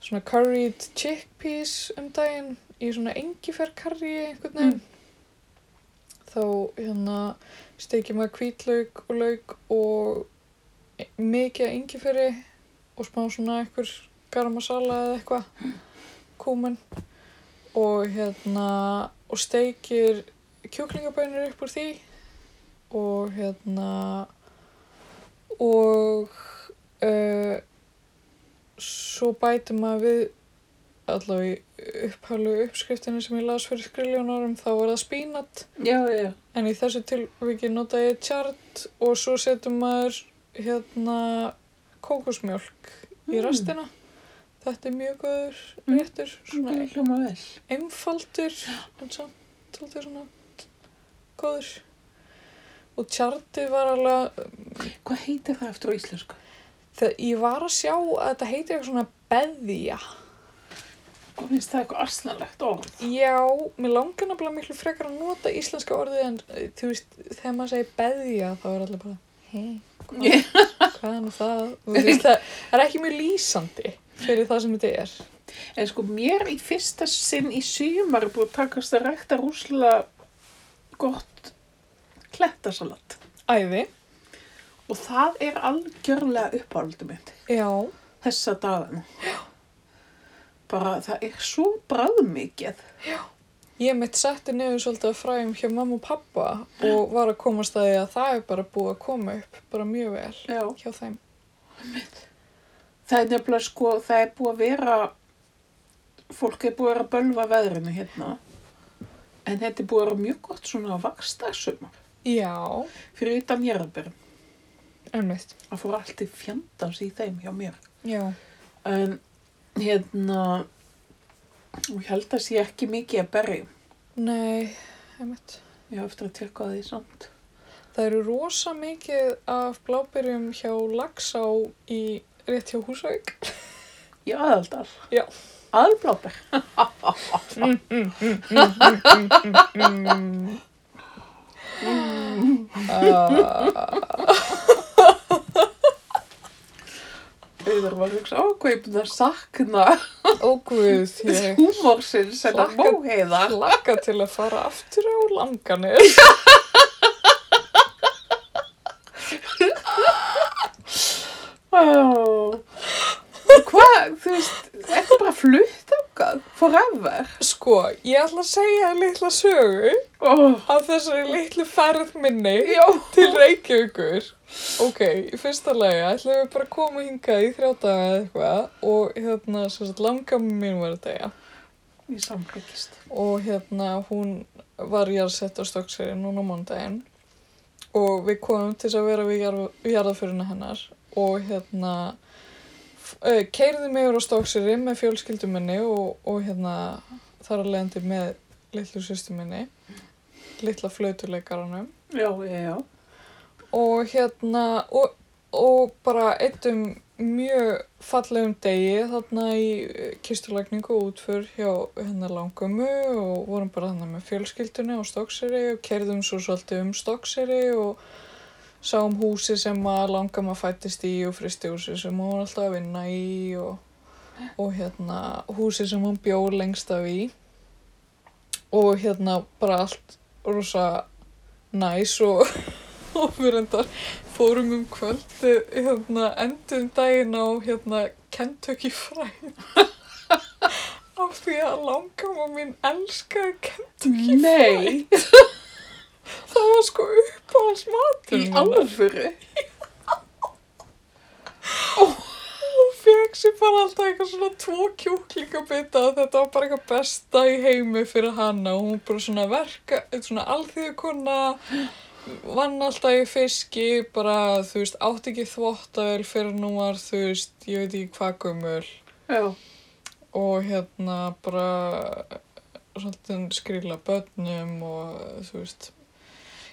svona curried chickpeas um daginn í svona engifer curry einhvern veginn þá hérna steikir maður hvítlaug og lauk og e- mikið engiferi og smá svona einhver garamasala eða eitthvað kúmen og hérna og steikir kjúklingabænir upp úr því og hérna eh, og uh, svo bætir maður við allavega í upphælu uppskriftinu sem ég las fyrir skrilljónarum þá var það spínat
Já, já.
en í þessu tilviki nota ég tjart og svo setum maður hérna kókusmjólk í
Mm.
rastina þetta er mjög góður
Mm.
réttur
Svona
svona
hljóma vel.
einfaldur en samt svolítið svona góður og tjartið var alveg
Hvað heitir það eftir á íslensku?
Þegar ég var að sjá að þetta heitir eitthvað svona beðja.
Hvað finnst það eitthvað arslanlegt orð?
Já, mér langar nefnilega miklu frekar að nota íslenska orðið en eh, þú veist, þegar maður segir beðja þá er allir bara, hei,
Yeah.
hvað er nú það? Þú veist, það er ekki mjög lýsandi fyrir það sem þetta er.
En sko, mér í fyrsta sinn í sumar er búið að takast að rækta rúslega gott klettasalat.
Æði,
Og það er algjörlega uppáhaldum mitt.
já,
Þessa dagana. Bara það er svo bræðmikið.
ég mitt setti niður svolítið að fræðum hjá mamma og pappa og var að komast að því að það er bara búið að koma upp, bara mjög vel
Já.
hjá þeim.
Það er nefnilega sko, það er búið að vera, fólk er búið að vera að bölva veðrinu hérna. En þetta er búið að vera mjög gott svona vakstagsumar.
Já,
Fyrir utan jarðbyrn.
einmitt,
Það fór allt í fjandans í þeim hjá mér.
já,
En hérna, og ég held að sé ekki mikið að berja.
nei, einmitt.
Ég á eftir að tekka því samt.
Það eru rosa mikið af blábyrjum hjá Laxá í rétt hjá Húsavík.
Í aðaldal.
Já.
Aðalbláber. Ah. Auður var að hugsa ákveipin að sakna
Ó guð, ég
húmórsins en að
Hlakka-
móheiða.
hlakka til að fara aftur á langanir.
Ó. Hvað, þú veist, þetta bara flutt ákvað, forever.
Sko, ég ætla að segja þér litla sögu
Oh.
af þessari litlu ferð minni
Já.
til Reykjavíkur. Ok, í fyrsta lagi ætlum við bara að koma hingað í þrjá daga eða eitthvað og hérna, sem sagt, langamma mín var að degja.
Ég samkvækist.
og hérna hún var jarðsett á stokkseri núna á mánudaginn og við komum til þess að vera við jarð- jarðaföruna hennar og hérna uh, keirði mig yfir á stokkseri með fjölskyldum minni og, og hérna þar að leiðandi með litlu sýstu minni litla flautuleikaranum
Já, já, já.
og hérna og, og bara eittum mjög fallegum degi þarna í eh, kistulagningu og útför hjá hérna langumu og vorum bara þarna með fjölskyldunni á Stokkseri og kerðum svo svolítið um Stokkseri og sáum húsi sem að langama fættist í og fristihúsi sem hún var alltaf að vinna í og, og hérna húsi sem hún bjó lengst af í og hérna bara allt rosa næs og og við reyndar fórum um kvöldi hérna, endum daginn á hérna, Kentucky Fried af því að langama mín elskaði Kentucky
Nei,
það var sko uppáhalds
í
matur
alvöru.
og fekk sér bara alltaf eitthvað svona tvo kjúklingabita og þetta var bara eitthvað besta í heimi fyrir hana og hún bara svona verka, svona alþýðukonna vann alltaf í fiski bara þú veist átti ekki þvottavel fyrir hún var þú veist, ég veit ekki hvað gömul
Já,
og hérna bara svolítið skrýla börnum og þú veist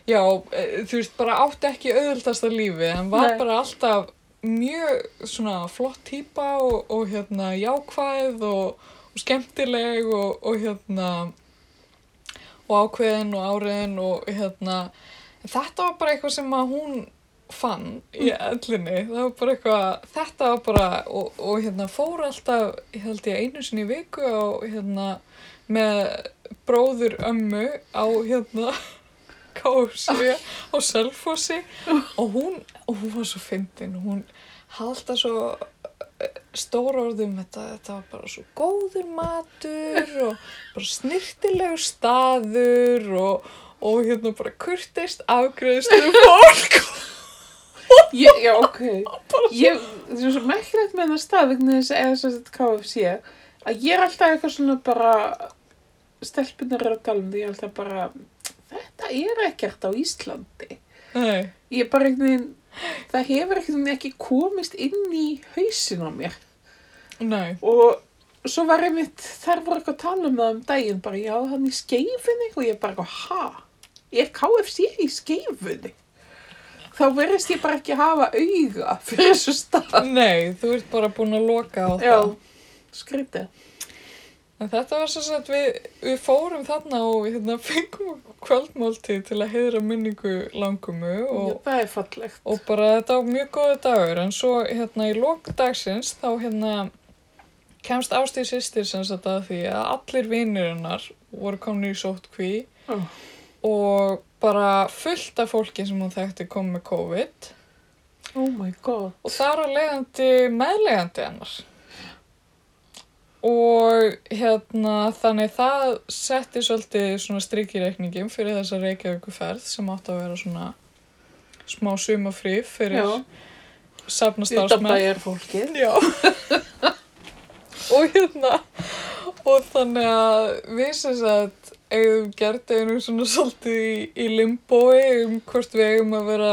já, eh, þú veist, bara átti ekki auðvöldasta lífi, en var
Nei.
bara alltaf mjög svona flott típa og, og hérna jákvæð og, og skemmtileg og, og hérna og ákveðin og áriðin og hérna þetta var bara eitthvað sem að hún fann í ellinni það var bara eitthvað, þetta var bara og, og hérna fór alltaf ég held ég einu sinni í viku á hérna með bróður ömmu á hérna KFC á Selfossi og hún, og hún var svo fyndin hún hafði alltaf svo eh, stór orðum þetta, þetta var bara svo góður matur og bara snirtilegu staður og, og hérna bara kurteist afgreðslu fólk
ég, já, ok. Ég, þú veist, merkilegt með hennar stað vegna þess að þess að KFC að ég er alltaf eitthvað svona bara stelpunar eru að tala um því ég er alltaf bara þetta er ekkert á Íslandi
Nei,
ég er bara einhvern veginn það hefur einhvern veginn ekki komist inn í hausin á mér
nei,
og svo var einmitt þær voru eitthvað að tala um það um daginn bara já hann í skeifinni og ég bara eitthvað ha er KFC í skeifinni þá verðist ég bara ekki hafa auga fyrir þessu stað
nei, þú ert bara búin að loka á
já
það.
skrítið
En þetta var sem sagt, við, við fórum þarna og hérna, fengum kvöldmáltíð til að heiðra minningu langumu og,
það er fallegt
og bara þetta var mjög góðu dagur en svo hérna í lok dagsins þá hérna kemst Ástíð sýstir sem sagt að því að allir vinir hennar voru komin í sóttkví
Ó.
og bara fullt af fólki sem hún þekkti kom með COVID
oh my god
og þar á leiðandi meðlegandi hennar og hérna þannig það setti svolítið svona strikireikningin fyrir þessa reykjavíkuferð sem átti að vera svona smá sumafrí fyrir
Já. þetta
safnastarfsmenn
er fólkið
Já Og hérna Og þannig að við sem sagt eigum gert einu svona svolítið í, í limbói um hvort við eigum að vera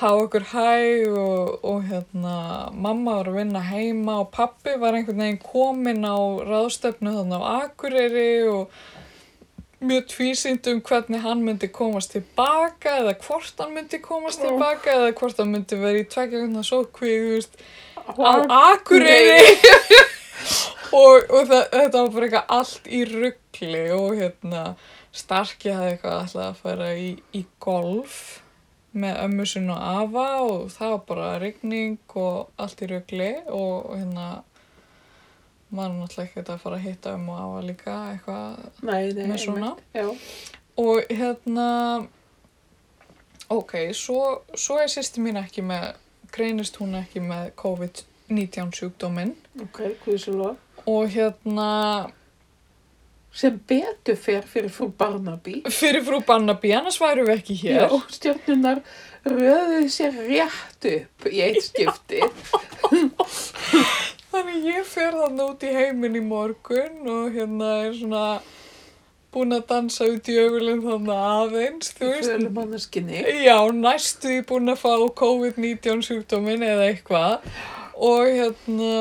hafa okkur hæg og, og hérna mamma var að vinna heima og pappi var einhvern veginn kominn á ráðstöfnu þannig á Akureyri og mjög tvísýnd um hvernig hann myndi komast tilbaka eða hvort hann myndi komast
Ó.
tilbaka eða hvort hann myndi vera í tvekja hvernig sókvíð, þú veist á
Á-
Akureyri og, og það, þetta var bara eitthvað allt í ruggli og hérna Starki hafði eitthvað alltaf að fara í, í golf með ömmu sinn og afa og það var bara rigning og allt í ruggli og hérna maður náttúrulega ekkert að fara að hitta um og afa líka eitthvað
nei, nei,
með svona
einmitt. já,
og hérna ok, svo, svo er sýsti mín ekki með greinist hún ekki með COVID-19 sjúkdóminn
ok, guðsulof
og hérna
sem betur fer fyrir frú Barnaby
fyrir frú Barnaby, annars værum við ekki hér
Já, stjórnunar röðuðu sér rétt upp í eitt skipti.
þannig ég fer þarna út í heiminn í morgun og hérna er svona búin að dansa út í ögulinn þarna aðeins þú veist,
Fölum manneskinni.
Já, næstu ég búin að fá COVID-19 sjúkdómin eða eitthvað og hérna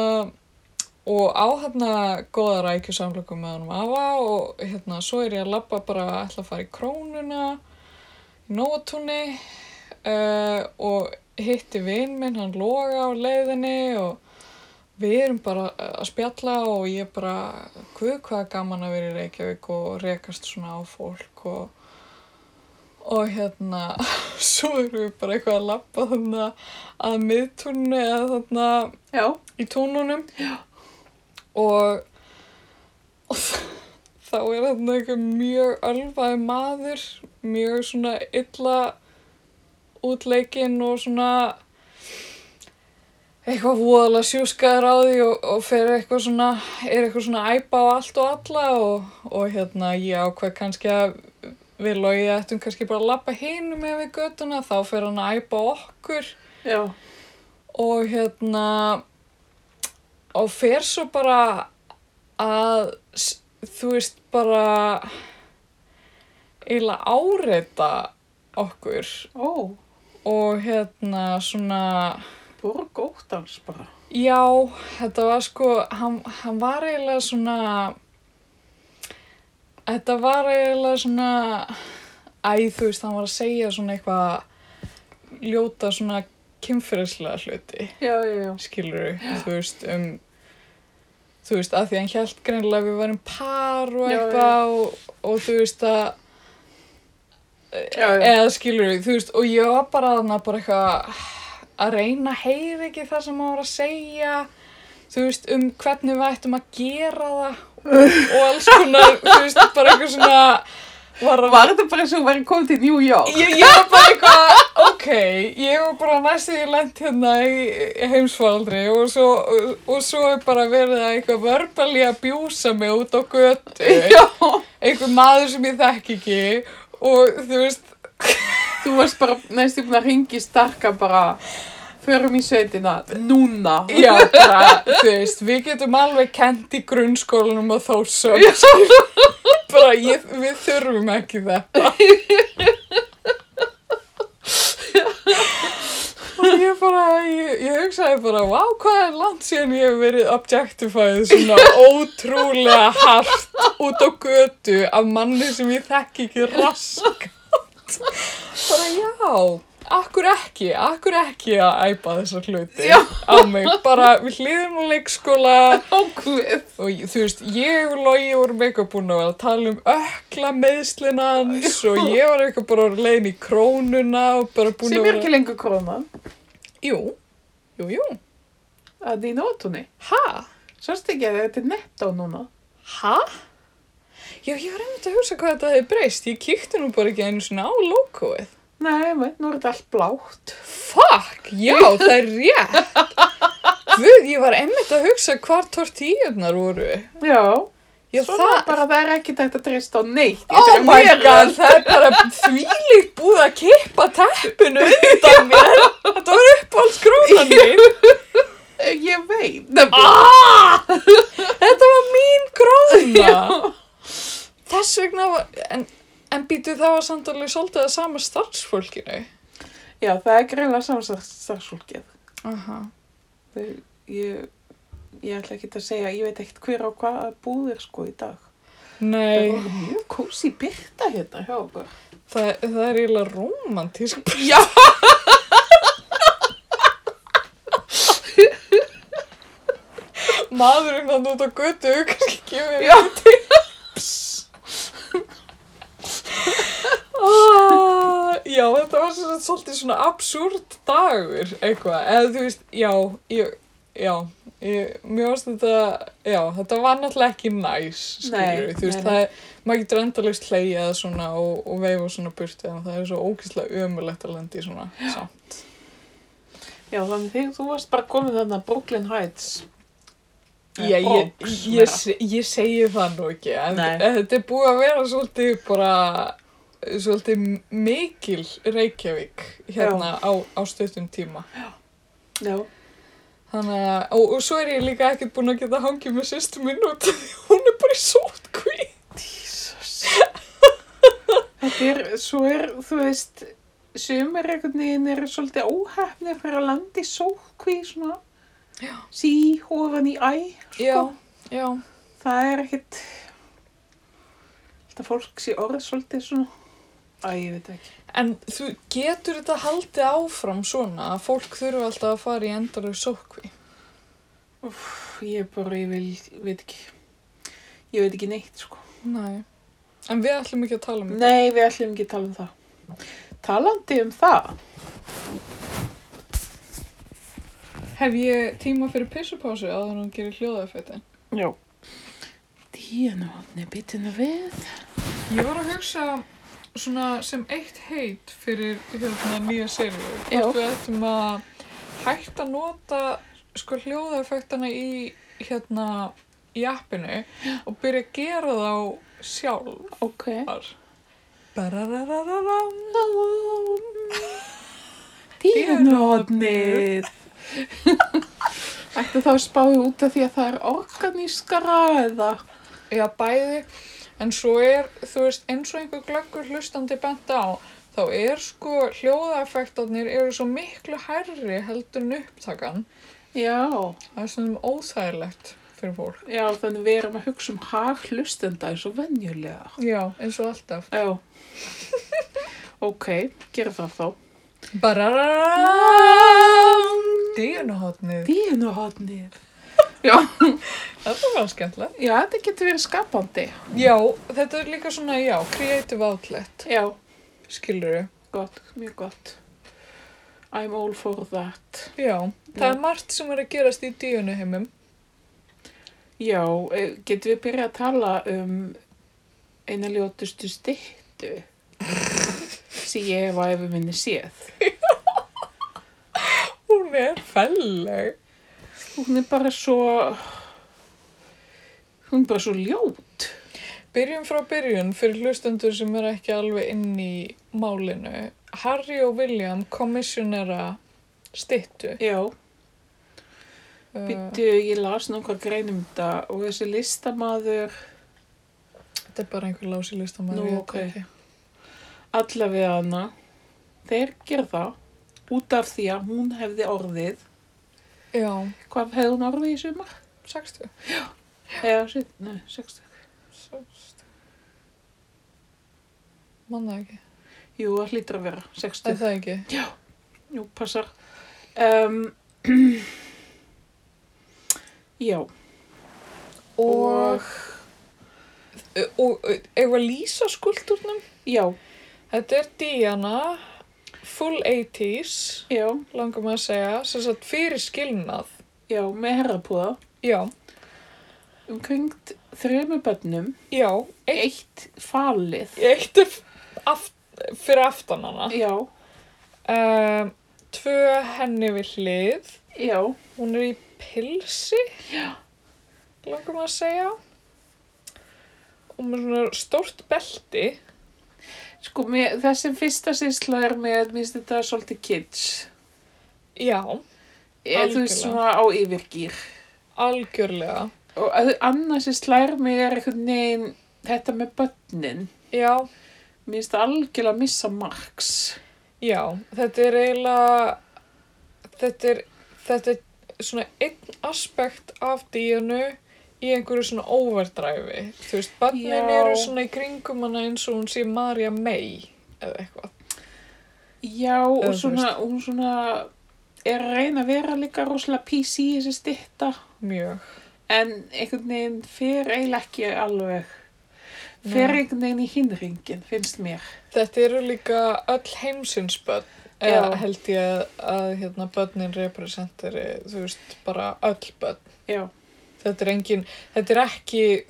og á hérna góða rækjusamlöku með honum afa og hérna svo er ég að labba bara að ætla að fara í krónuna í nótunni uh, og hitti vinn minn, hann loga á leiðinni og við erum bara að spjalla og ég bara, guð hvað er gaman að vera í Reykjavík og rekast svona á fólk og Og hérna, svo erum við bara eitthvað að lappa þarna að miðtúninu eða þarna
Já,
í túnunum. Já. Og, og þá er þarna eitthvað mjög ölvaði maður, mjög svona illa útleikinn og svona eitthvað voðalega sjúskaður á því og, og fer eitthvað svona, er eitthvað svona að æpa á allt og alla og, og hérna ég ákveð kannski að við logið ættum kannski bara að lappa hinum ef við göttuna, þá fer hann að æpa á okkur
já,
og hérna og fer svo bara að s- þú veist bara eiginlega áreita okkur
ó,
og hérna svona
borg óttans bara.
Já, þetta var sko, hann, hann var eiginlega svona, þetta var eiginlega svona, æ, þú veist, hann var að segja svona eitthvað, ljóta svona kynferðislega hluti,
Já, já, já.
skilur þú veist, um, þú veist, að því hann hjælt greinilega að við varum par og
Já,
eitthvað og, og þú veist að,
Já, já,
eða skilur þú veist, og ég var bara þarna bara eitthvað að reyna að heyra ekki það sem maður var að segja þú veist, um hvernig við ættum að gera það og, og alls konar, þú veist, bara eitthvað svona var að
Var þetta bara eins og hún væri komið til New York?
Ég, ég var bara eitthvað, ok, ég var bara næstu í lent hérna í, í heimsfaldri og svo, og, og svo er bara verið að eitthvað verbali að bjúsa mig út á götu,
Já,
einhver maður sem ég þekk ekki og þú veist,
þú varst bara næstu búin að ringi starka bara. förum í sveitina núna.
Já, bara, þú veist, við getum alveg kent í grunnskólanum og þó sem, skil. Bara, ég, við þurfum ekki þetta. Og ég bara, ég, ég hugsaði bara, vá, hvað er langt síðan ég hef verið objectifæð svona ótrúlega hart út á götu af manni sem ég þekki ekki raskat. Bara, já, akkur ekki, akkur ekki að æpa þessar hluti
Já.
á mig. Bara, við hlýðum á leikskóla
Ákveð.
og ég- þú veist, ég og Logi vorum eitthvað búin að vera að tala um ökla meðslinans og ég var eitthvað bara að leiðin í krónuna og bara búin
Sem
að
er
vera...
ekki lengur krónan.
Jú, jú, jú.
Að í nótunni.
Hæ?
Sást ekki að þetta er nettó núna.
Hæ? Já, ég var einmitt að hugsa hvað þetta hefði breyst. Ég kíkti nú bara ekki einu svona á logoið.
Nei, veit, nú er þetta allt blátt.
Fuck, já, það er rétt. Guð, ég var einmitt að hugsa hvar tortíunar voru.
Já.
Já,
Svona
það...
bara það er ekki þetta að treysta á neitt.
Oh
í þessari
my
veröld.
god, það er bara þvílíkt búið að kippa teppinu undan mér. Þetta var uppáhaldskrónan mín.
Ég veit. nefnilega.
Ah! Þetta var mín gróðna. Þess vegna var, en, en býtu það var samt alveg svolítið að sama starfsfólkinu.
Já, það er greinlega samstarfsfólkið.
Aha.
Þau- Ég, ég ætla ekki að segja, ég veit ekkert hver á hvaða búðir sko í dag. Það
Nei,
voru mjög kósi byrta hérna hjá okkur.
það, það er eiginlega romantísk.
Já!
Maðurinn hann út á götu, kannski gefur.
Já.
Ah, já, þetta var sem sagt svolítið svona absúrt dagur, eitthvað. Eða þú veist, já, ég, já, ég, mér varst þetta, já, þetta var náttúrulega ekki næs, skilur
Nei,
Þú veist,
nei, nei.
það er, maður getur endalegst hleyjað svona og, og veifa svona burtið, en það er svo ógeðslega ömulegt að lenda í svona, samt.
Já, þannig þegar þú varst bara komin þarna Brooklyn Heights. Eða
Já, ég,
Bronx,
ég,
meira.
se- ég segi það nú ekki, en
Nei.
þetta er búið að vera svolítið bara, svolítið mikil Reykjavík hérna á, á stuttum tíma.
Já.
Þannig að, og, og svo er ég líka ekkert búin að geta hangið með sýstu minn út af því að hún er bara í sótkví.
Jesus. Þetta er, svo er, þú veist, sumir einhvern veginn eru svolítið óhefnir fyrir að landa í sótkví svona. Já. Sí, ofan í æ.
Já, já,
Það er ekkit, þetta fólk sé orð svolítið svona. Æ, ég veit ekki.
en þú getur þetta haldið áfram svona að fólk þurfa alltaf að fara í endaleg sótkví.
Úff, Ég bara, ég vil, veit ekki, ég veit ekki neitt, sko.
Nei, en við ætlum ekki að tala um þetta.
Nei, við ætlum ekki að tala um það. Talandi um það?
Hef ég tíma fyrir pissupásu að hann gerir hljóðafettin?
Já. Díana vatni bitinu við.
Ég var að hugsa svona sem eitt heit fyrir hérna nýja seríu.
Já.
Hvort við ættum að hægt að nota sko hljóðaeffektana í hérna í appinu og byrja að gera þá sjálfar.
Ok.
Barararararam.
Díana vatni. Ættu þá að spáði út af því að það er organískara eða?
Já, bæði. En svo er, þú veist, eins og einhver glöggur hlustandi bent á, þá er sko hljóðaeffektarnir eru svo miklu hærri heldur en upptakan.
Já.
Það er svona óþægilegt fyrir fólk.
Já, þannig við erum að hugsa um hag hlustenda eins og venjulega.
Já, eins og alltaf.
Já. ok, gera það þá.
Barararam! Díunuhotnið.
Díana vatni. Já.
Þetta var skemmtilegt.
Já, þetta getur verið skapandi.
Já, þetta er líka svona, já, creative outlet.
Já.
Skilur þau?
Gott, mjög gott. I'm all for that.
Já. Það er margt sem er að gerast í díunuheimum.
Já, eh, getum við byrjað að tala um eina ljótustu styttu sem ég hef á æfi minni séð.
Hún er felleg.
Hún er bara svo, hún er bara svo ljót.
Byrjum frá byrjun fyrir hlustendur sem er ekki alveg inn í málinu. Harry og William kommissionera styttu.
Já,
Uh,
býttu, ég las nokkar greinum þetta og þessi listamaður
Þetta er bara einhver lási listamæður.
Nú, ok. allavega hana, þeir gerða út af því að hún hefði orðið.
Já,
Hvað hefði hún orðið í sumar?
60.
Eða, sit- nei, 60.
60. Manna ekki.
Jú, það hlýtur að vera,
Er
60.
það ekki?
Jú, passar. Um, já,
Og, og, og eigum við að lýsa skuldurnum?
já,
Þetta er Diana, full 80s,
já,
langar maður að segja, sem sagt fyrir skilnað.
já, með herrapúða.
Já,
Umkringt þremur bönnum,
já, eitt,
eitt falið,
eitt er aft, fyrir aftan hana.
já,
Um, tvö henni við hlið,
já,
hún er í pilsi, langar maður að segja. Og með svona stórt belti.
sko, mér, þessi fyrsta sýsla er með, minnst þetta er svolítið kids.
Já,
Eða þú veist
Algjörlega.
svona á yfirgýr.
algjörlega.
Og að- annað sem slæðir mig er einhvern veginn þetta með bönnin.
Já,
Mér finnst það algjörlega að missa marks.
Já, þetta er eiginlega, þetta er, þetta er svona einn aspekt af díunu í einhverju svona overdræfi. Þú veist, barnin
Já.
eru svona í kringum hana eins og hún sé Marja May eða eitthvað.
Já, og
þú
svona, hún svona er að reyna að vera líka rosalega PC í þessi stytta.
Mjög.
En einhvern veginn fer eiginlega ekki alveg. Fer
Nei.
einhvern veginn í hinringin, finnst mér.
Þetta eru líka öll heimsins börn.
Já.
Eða held ég að, að hérna börnin representari, þú veist, bara öll börn.
Já,
Þetta er engin, þetta er ekki,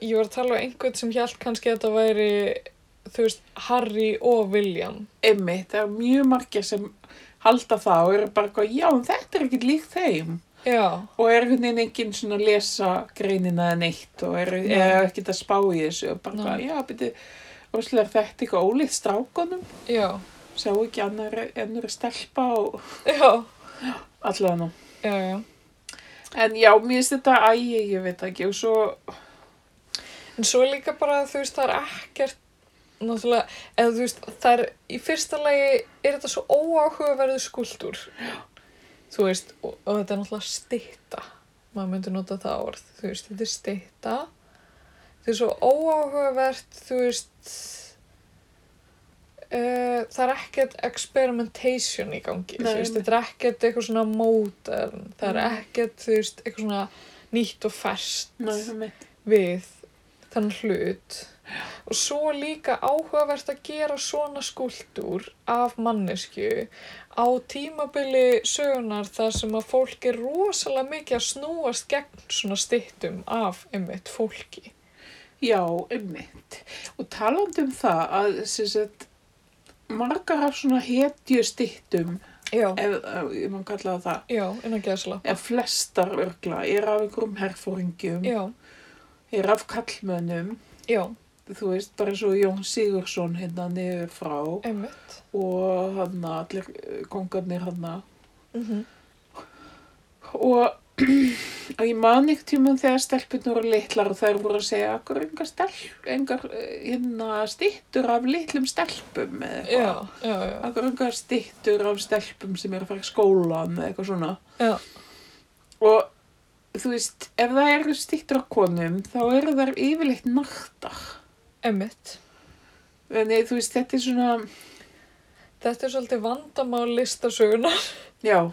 ég var að tala um einhvern sem hjælt kannski að þetta væri, þú veist, Harry og William.
einmitt, það er mjög margir sem halda það og eru bara eitthvað, já, en þetta er ekkert líkt þeim.
Já,
Og er einhvern veginn enginn svona að lesa greinina eða neitt og eru
Nei.
er ekkert að spá í þessu og bara
Nei.
eitthvað, já, byrju, rosalega er þetta eitthvað ólíkt strákunum.
já,
Sjá ekki annar ennur stelpa og
já,
allavega nú.
já, já.
En já, mér finnst þetta, æ, ég, ég veit ekki, og svo,
En svo er líka bara, þú veist, það er ekkert, náttúrulega, eða þú veist, það er, í fyrsta lagi er þetta svo óáhugaverðu skuldur. Þú veist, og, og þetta er náttúrulega stytta. Maður myndi nota það orð, þú veist, þetta er stytta. Þetta er svo óáhugavert, þú veist, uh, það er ekkert experimentation í gangi,
Nei,
þú veist,
nei.
þetta er ekkert eitthvað svona modern, það er
Nei.
ekkert, þú veist, eitthvað svona nýtt og ferskt
náðum við.
við þann hlut og svo líka áhugavert að gera svona skúldur af mannesku á tímabili sögunar þar sem að fólk er rosalega mikið að snúast gegn svona stittum af einmitt fólki.
Já, einmitt. Og talandi um það að sem sagt, margar af svona hetjustittum,
Já,
ef, ef ég mann kalla það það,
já, innan gæsla.
ef flestar örgla er af einhverjum herfóringjum,
Já,
er af kallmönnum,
já,
þú veist, bara svo Jón Sigursson hérna niður frá
einmitt.
og hann allir eh, kongarnir hann
Mm
og, og ég man ykkur tímann þegar stelpunur voru litlar og þær voru að segja akkur engar, stelp, engar eh, hérna, stittur af litlum stelpum eða eitthvað.
Já, já, já,
Akkur engar stittur af stelpum sem eru að fara í skólan eða eitthvað svona.
Já.
Og þú veist, ef það eru stittur af konum, þá eru þær yfirleitt nartar.
einmitt.
Þannig, þú veist, þetta er svona,
Þetta er svolítið vandamál listasögunar.
já.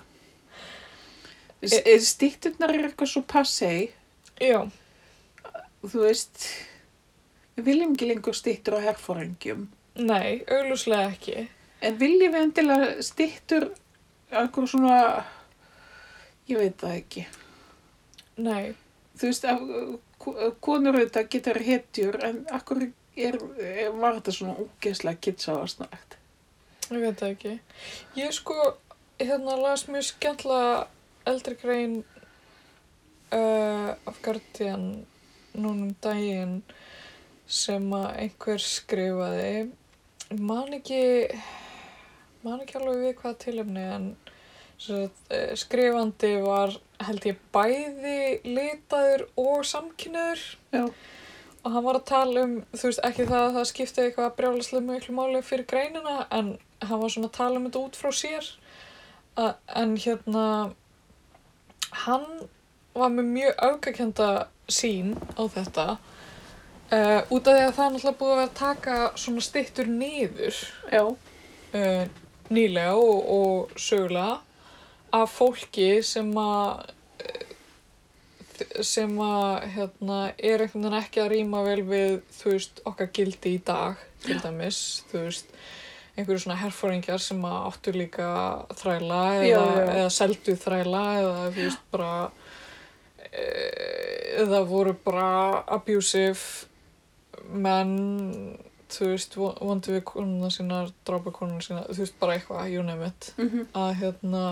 E Stitturnar eru eitthvað svo passei,
Já,
þú veist, við viljum ekki lengur stittur á herfóringjum.
nei, auglúslega ekki.
En viljum við endilega stittur eitthvað svona, ég veit það ekki.
Nei,
þú veist, af, ko- eh, konur auðvitað getur hetjur, en akkur er, er, var þetta svona úgeðslega kitsaða snart.
Ég veit það ekki. Ég sko, hérna las mjög skemmtilega eldri grein uh, af Guardian núna um daginn sem að einhver skrifaði. Man ekki, man ekki alveg við hvaða tilefni en Sér, skrifandi var held ég bæði litaður og samkynnaður
Já.
og hann var að tala um, þú veist, ekki það að það skipti eitthvað brjálislega miklu máli fyrir greinina en hann var svona að tala um þetta út frá sér að, en hérna hann var með mjög aukakenda sín á þetta uh, út af því að það er náttúrulega búið að vera að taka svona stittur niður
Já,
uh, nýlega og, og sögulega af fólki sem að eh, sem að hérna, er einhvern veginn ekki að rýma vel við þú veist okkar gildi í dag til dæmis, þú veist einhverju svona herfóringjar sem að áttu líka þræla eða,
Já, já.
eða seldu þræla eða þú veist bara eh, eða voru bara abusive menn þú veist, von- vondu við konuna sína, drápa konuna sína, þú veist, bara eitthvað, you name it,
Mhm.
að hérna,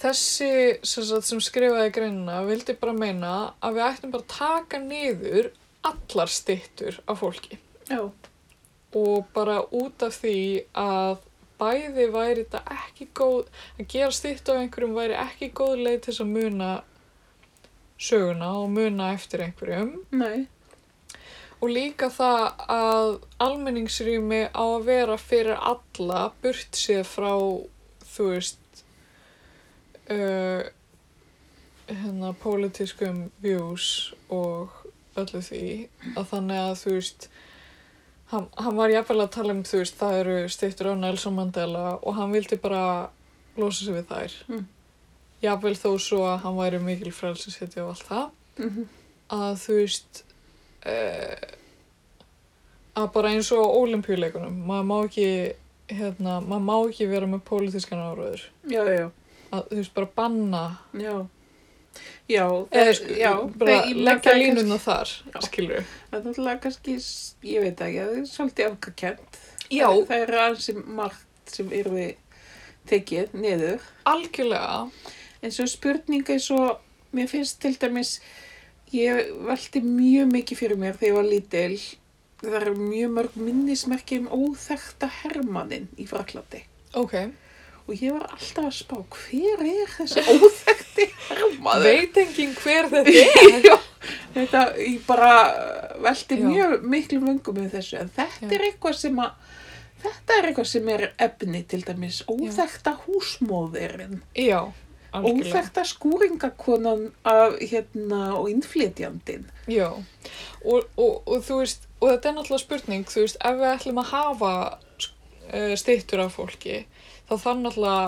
þessi sem, sagt, sem skrifaði greinina vildi bara meina að við ættum bara að taka niður allar styttur af fólki
já,
og bara út af því að bæði væri þetta ekki góð, að gera stytt af einhverjum væri ekki góð leið til þess að muna söguna og muna eftir einhverjum
nei,
Og líka það að almenningsrými á að vera fyrir alla burt séð frá, þú veist, uh, hérna, pólitískum views og öllu því. Að þannig að, þú veist, hann, hann var jafnvel að tala um, þú veist, það eru stýttur á Nelson Mandela og hann vildi bara losa sig við þær.
Mm.
Jafnvel þó svo að hann væri mikil frelsinshetja og allt það
mhm,
að þú veist uh, að bara eins og á olimpíuleikunum maður má ekki hérna, maður má ekki vera með pólitískan áraður
já, já,
að þú veist bara banna
já. Já,
eða
það-
sko,
Eh, já,
bara
nei, ég meina,
leggja
það er
línuna þar
Já.
skilur
Það er náttúrulega kannski, ég veit ekki, það er svolítið afgakent.
Já.
Það er aðeins margt sem yrði tekið niður.
algjörlega
En svo spurninga er svo, mér finnst til dæmis, ég velti mjög mikið fyrir mér þegar ég var lítil. Það eru mjög mörg minnismerki um óþekta hermaninn í Fraklandi.
ok,
Og ég var alltaf að spá, hver er þessi óþekti hermaður?
veit enginn hver þetta er
Já, þetta, ég bara velti
Já.
mjög miklu vöngum með þessu, en
Já.
þetta er eitthvað sem að þetta er eitthvað sem er efni til dæmis, óþekta húsmóðirinn,
já, algjörlega
óþekta skúringakonan af, hérna, og innflytjandinn.
já. Og, og, og þú veist og þetta er náttúrulega spurning þú veist ef við ætlum að hafa uh, stýttur af fólki þá þarf náttúrulega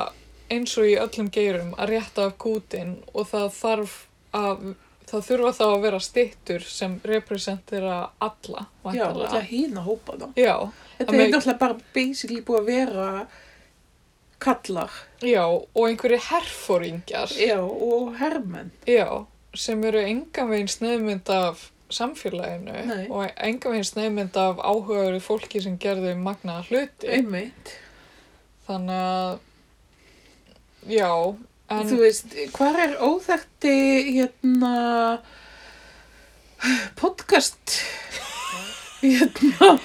eins og í öllum geirum að rétta af kútin og það þarf að það þurfa þá að vera stittur sem representera alla
Já,
væntanlega.
alltaf hína hópa þá.
já,
Þetta
Það
er
meik-
náttúrulega bara basically búið að vera kallar,
já, og einhverju herfóringjar
já, og hermenn.
já, sem eru engan veginn sneiðmynd af samfélaginu
Nei.
og engan veginn sneiðmynd af áhugaður fólki sem gerðu magnaða hluti
Einmitt.
þannig að já, en
Þú veist, hvar er óþekti hérna podcast hérna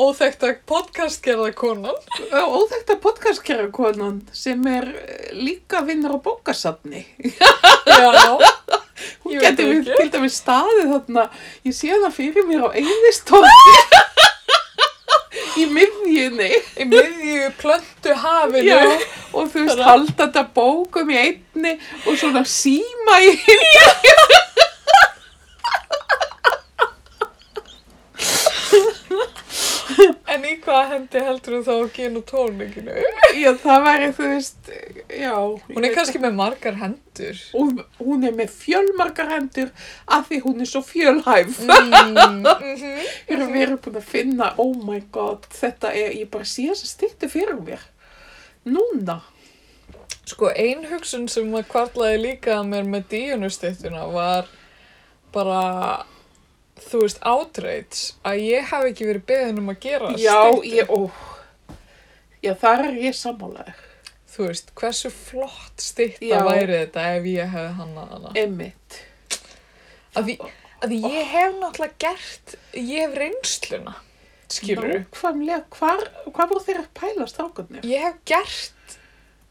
óþekta podcastgerða konan
óþekta podcastkerrakonan sem er eh, líka vinnur á bókasafni
já,
hún
Ég veit það
getur við
ekki.
til dæmis staðið þarna ég sé það fyrir mér á einistofni í miðjunni
í miðju plöntu hafinu
Já, og þú
Þannig
veist,
að-
halda þetta bókum í einni og svona síma í hinni.
en í hvað hendi heldur þú þá að gena tónleikinu
Já, það væri, þú veist, já.
hún er kannski með margar hendur
og hún er með fjölmargar hendur af því hún er svo fjölhæf
mm, mm
erum við erum búin að finna oh my god, þetta er, ég bara sé þess að stýttu fyrir mér núna
sko ein hugsun sem að kvarlaði líka að mér með díunustyttuna var bara þú veist átreits að ég hafi ekki verið beðin um að gera
já,
styttu.
ég, ó já, þar er ég sammálaður
þú veist, hversu flott stytta
Já.
væri þetta ef ég hefði hannað hana
emmitt,
að því, að því ég hef náttúrulega gert ég hef reynsluna skilur
nákvæmlega hvar, hvar voru þeir að pæla strákarnir?
ég hef gert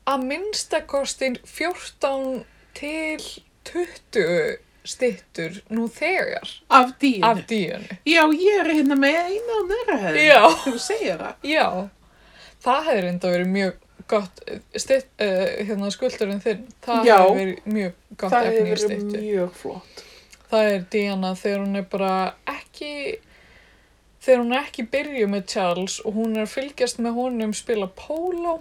að minnstakostin 14 til 20 stittur nú þegar
Af dýinu.
af díunni.
Já, ég er hérna með eina og nöðra hefði.
Já.
Þú segir það.
Já, það hefði reynda verið mjög gott stitt, uh, hérna skuldurinn þinn, það
Já.
hefði verið mjög gott
það
efni í
hefur verið
stittu.
mjög flott.
Það er Diana þegar hún er bara ekki, þegar hún er ekki byrjuð með Charles og hún er að fylgjast með honum spila póló.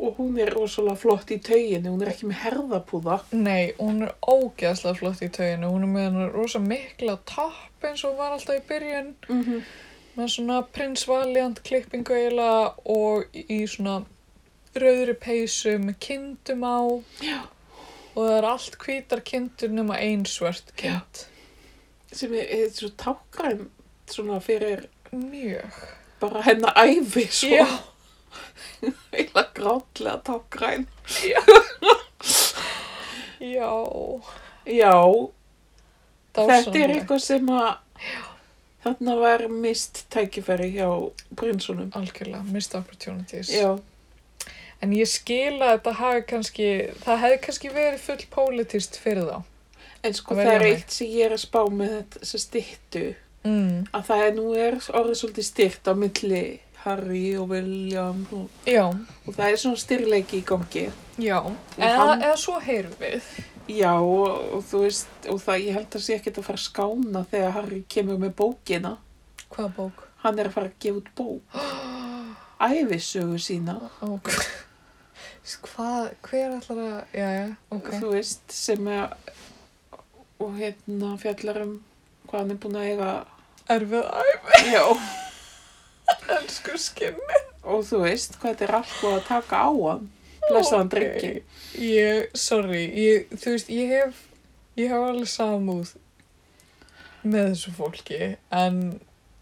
Og hún er rosalega flott í tauginu, hún er ekki með herðapúða.
Nei, hún er ógeðslega flott í tauginu, hún er með hennar rosa mikla tapp eins og var alltaf í byrjun.
Mm -hmm.
með svona prins valiant klippingu eiginlega og í svona rauðri peysu með kindum á Já. og það er allt hvítar kindur nema ein svört kind
Sem er, er svo tákræn svona fyrir
mjög
bara hennar æfi svo
Já.
eila grátlega tákræn.
Já,
Já, þetta er
dásamleg.
eitthvað sem að þarna var mist tækifæri hjá prinsunum.
algjörlega, missed opportunities
Já,
en ég skila að þetta hafi kannski það hefði kannski verið full politist fyrir þá
en sko
Að
það er
velja
eitt sem ég er að spá með þetta stittu.
mm.
að það er nú er orðið svolítið styrt á milli Harry og William og,
Já,
og það er svona styrleiki í gangi.
já eða,
hann-
eða svo heyrum við
Já og, og þú veist og það ég held að sé ekkert að fara að skána þegar Harry kemur með bókina.
Hvaða bók?
Hann er að fara að gefa út bók. Ævisögu sína,
Ok. Hvað, hver ætlar að, já, já, ok.
þú veist, sem er og hérna fjallar um hvað hann er búin að eiga.
Erfið æfi,
Já.
elsku skinni.
Og þú veist hvað þetta er allt búið að taka á hann. Blessaðan
Ok.
okay. drikki.
Ég, sorry, ég, þú veist, ég hef, ég hef alveg samúð með þessu fólki, en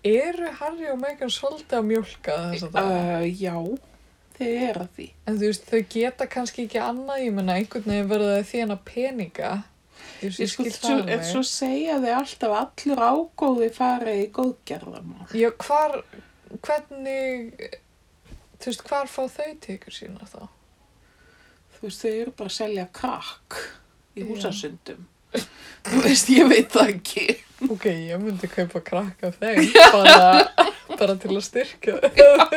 eru Harry og Meghan svolítið að mjólka þess að það?
Uh, já, þið er að því.
En þú veist, þau geta kannski ekki annað, ég menna, einhvern veginn verða þau þjána peninga. Þú veist,
Ég
ég
sko,
skil
svo,
það
en
alveg.
svo segja þau alltaf að allur ágóði farið í góðgerðamál.
Já, hvar, hvernig, þú veist, hvar fá þau tekur sína þá?
Þú veist, þau eru bara að selja krakk
Já.
í húsasundum. Þú veist, ég veit það ekki.
Ok, ég myndi kaupa krakka af þeim, bara, bara til að styrka þau.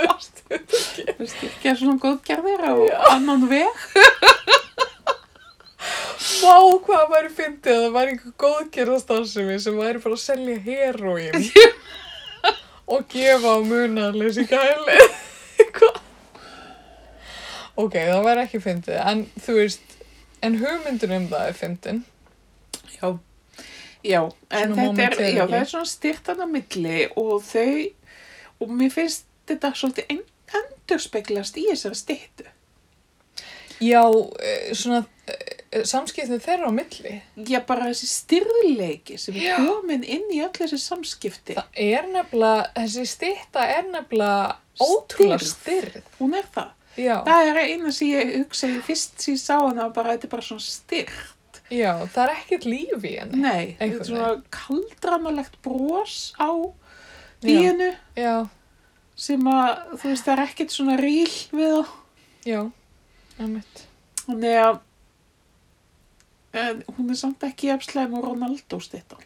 Þú veist, ekki er svona góðgerðir á annan veg.
Vá, hvað væri fyndið að það væri einhver góðgerðastarfsemi sem væri bara að selja heroín og gefa á munarleys í gæli. Hvað? ok, það væri ekki fyndið, en þú veist, en hugmyndun um það er fyndin.
Já, já en
Svona
þetta er,
momentarily.
já, það er svona styrtan á milli og þau, og mér finnst þetta svolítið en, endurspeglast í þessari styttu.
Já, eh, svona eh, samskiptin þeirra á milli.
Já, bara þessi styrleiki sem
Já.
er komin inn í öll þessi samskipti.
Það er nefnilega, þessi stytta er nefnilega ótrúlega styrð.
Hún er það.
Já,
Það er eina sem ég hugsaði fyrst sem ég sá hana bara þetta er bara svona styrkt.
já, það er ekkert líf í henni.
Nei, þetta
einhvern
er svona kaldranalegt brós á díinu
Já,
sem að þú veist það er ekkert svona ríl við það.
já, emitt.
Þannig að en hún er samt ekki jafnslega með Ronaldo stittan.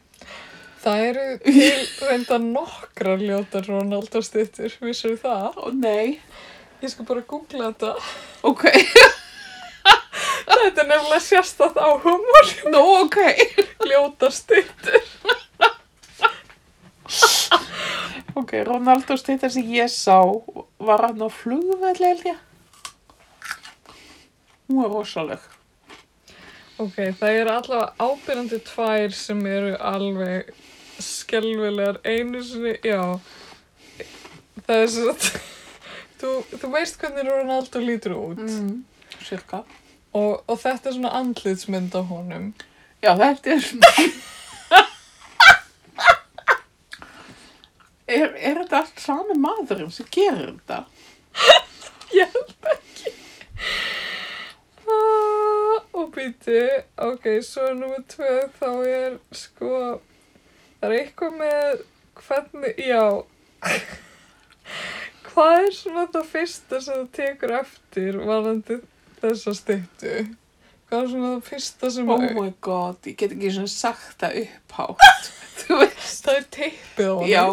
Það eru til reynda nokkrar ljótar Ronaldo stittur, vissur það?
Ó nei,
Ég skal bara googla þetta.
ok,
Þetta er nefnilega sérstætt á humor,
nú ok.
ljótar stittur.
Ok, Ronaldo stittan sem ég sá var hann á flugvelli held ég. Hún er rosaleg.
Ok, það eru allavega ábyrjandi tvær sem eru alveg skelvilegar einu sinni, já. Það er svo að, þú, þú veist hvernig Ronaldo lítur út
Mm. Sirka.
og, og þetta er svona andlitsmynd á honum.
Já, þetta er... er, er þetta allt sami maðurinn sem gerir þetta?
Ég held ekki. Ah, og býti, ok, svo er nummer tvö, þá er sko, það er eitthvað með hvernig, já, hvað er svona það fyrsta sem þú tekur eftir varandi þessa styttu? Hvað er svona það fyrsta sem
Oh my god, ég get ekki svona sagt það upphátt. Þú veist,
Það er teipið á hann.
já,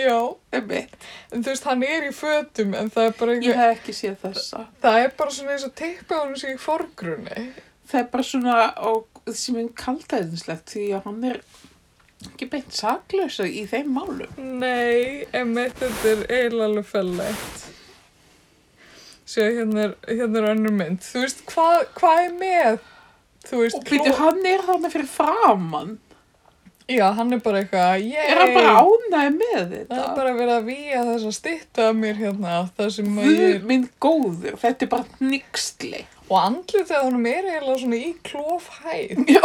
Já.
einmitt.
En þú veist, hann er í fötum en það er bara
Ég
einhver...
hef ekki séð þessa.
Það er bara svona eins og teipið á hann sem í forgrunni.
Það er bara svona, og þessi mjög kaldæðinslegt því að hann er ekki beint saklösa í þeim málum.
Nei, emitt, þetta er eiginlega alveg fellegt. Sjá, hérna er, hérna er önnur mynd. Þú veist, hvað hva er með? Þú veist,
Og býtu,
kló-
hann er þarna fyrir framann.
Já, hann er bara eitthvað, yey.
Er hann bara ánæði með þetta?
Það er bara verið að výja þess að stytta af mér hérna, það sem að ég
Guð
er...
minn góður, þetta er bara nixli.
Og andlitið á honum er eiginlega svona í klófhæð.
Já,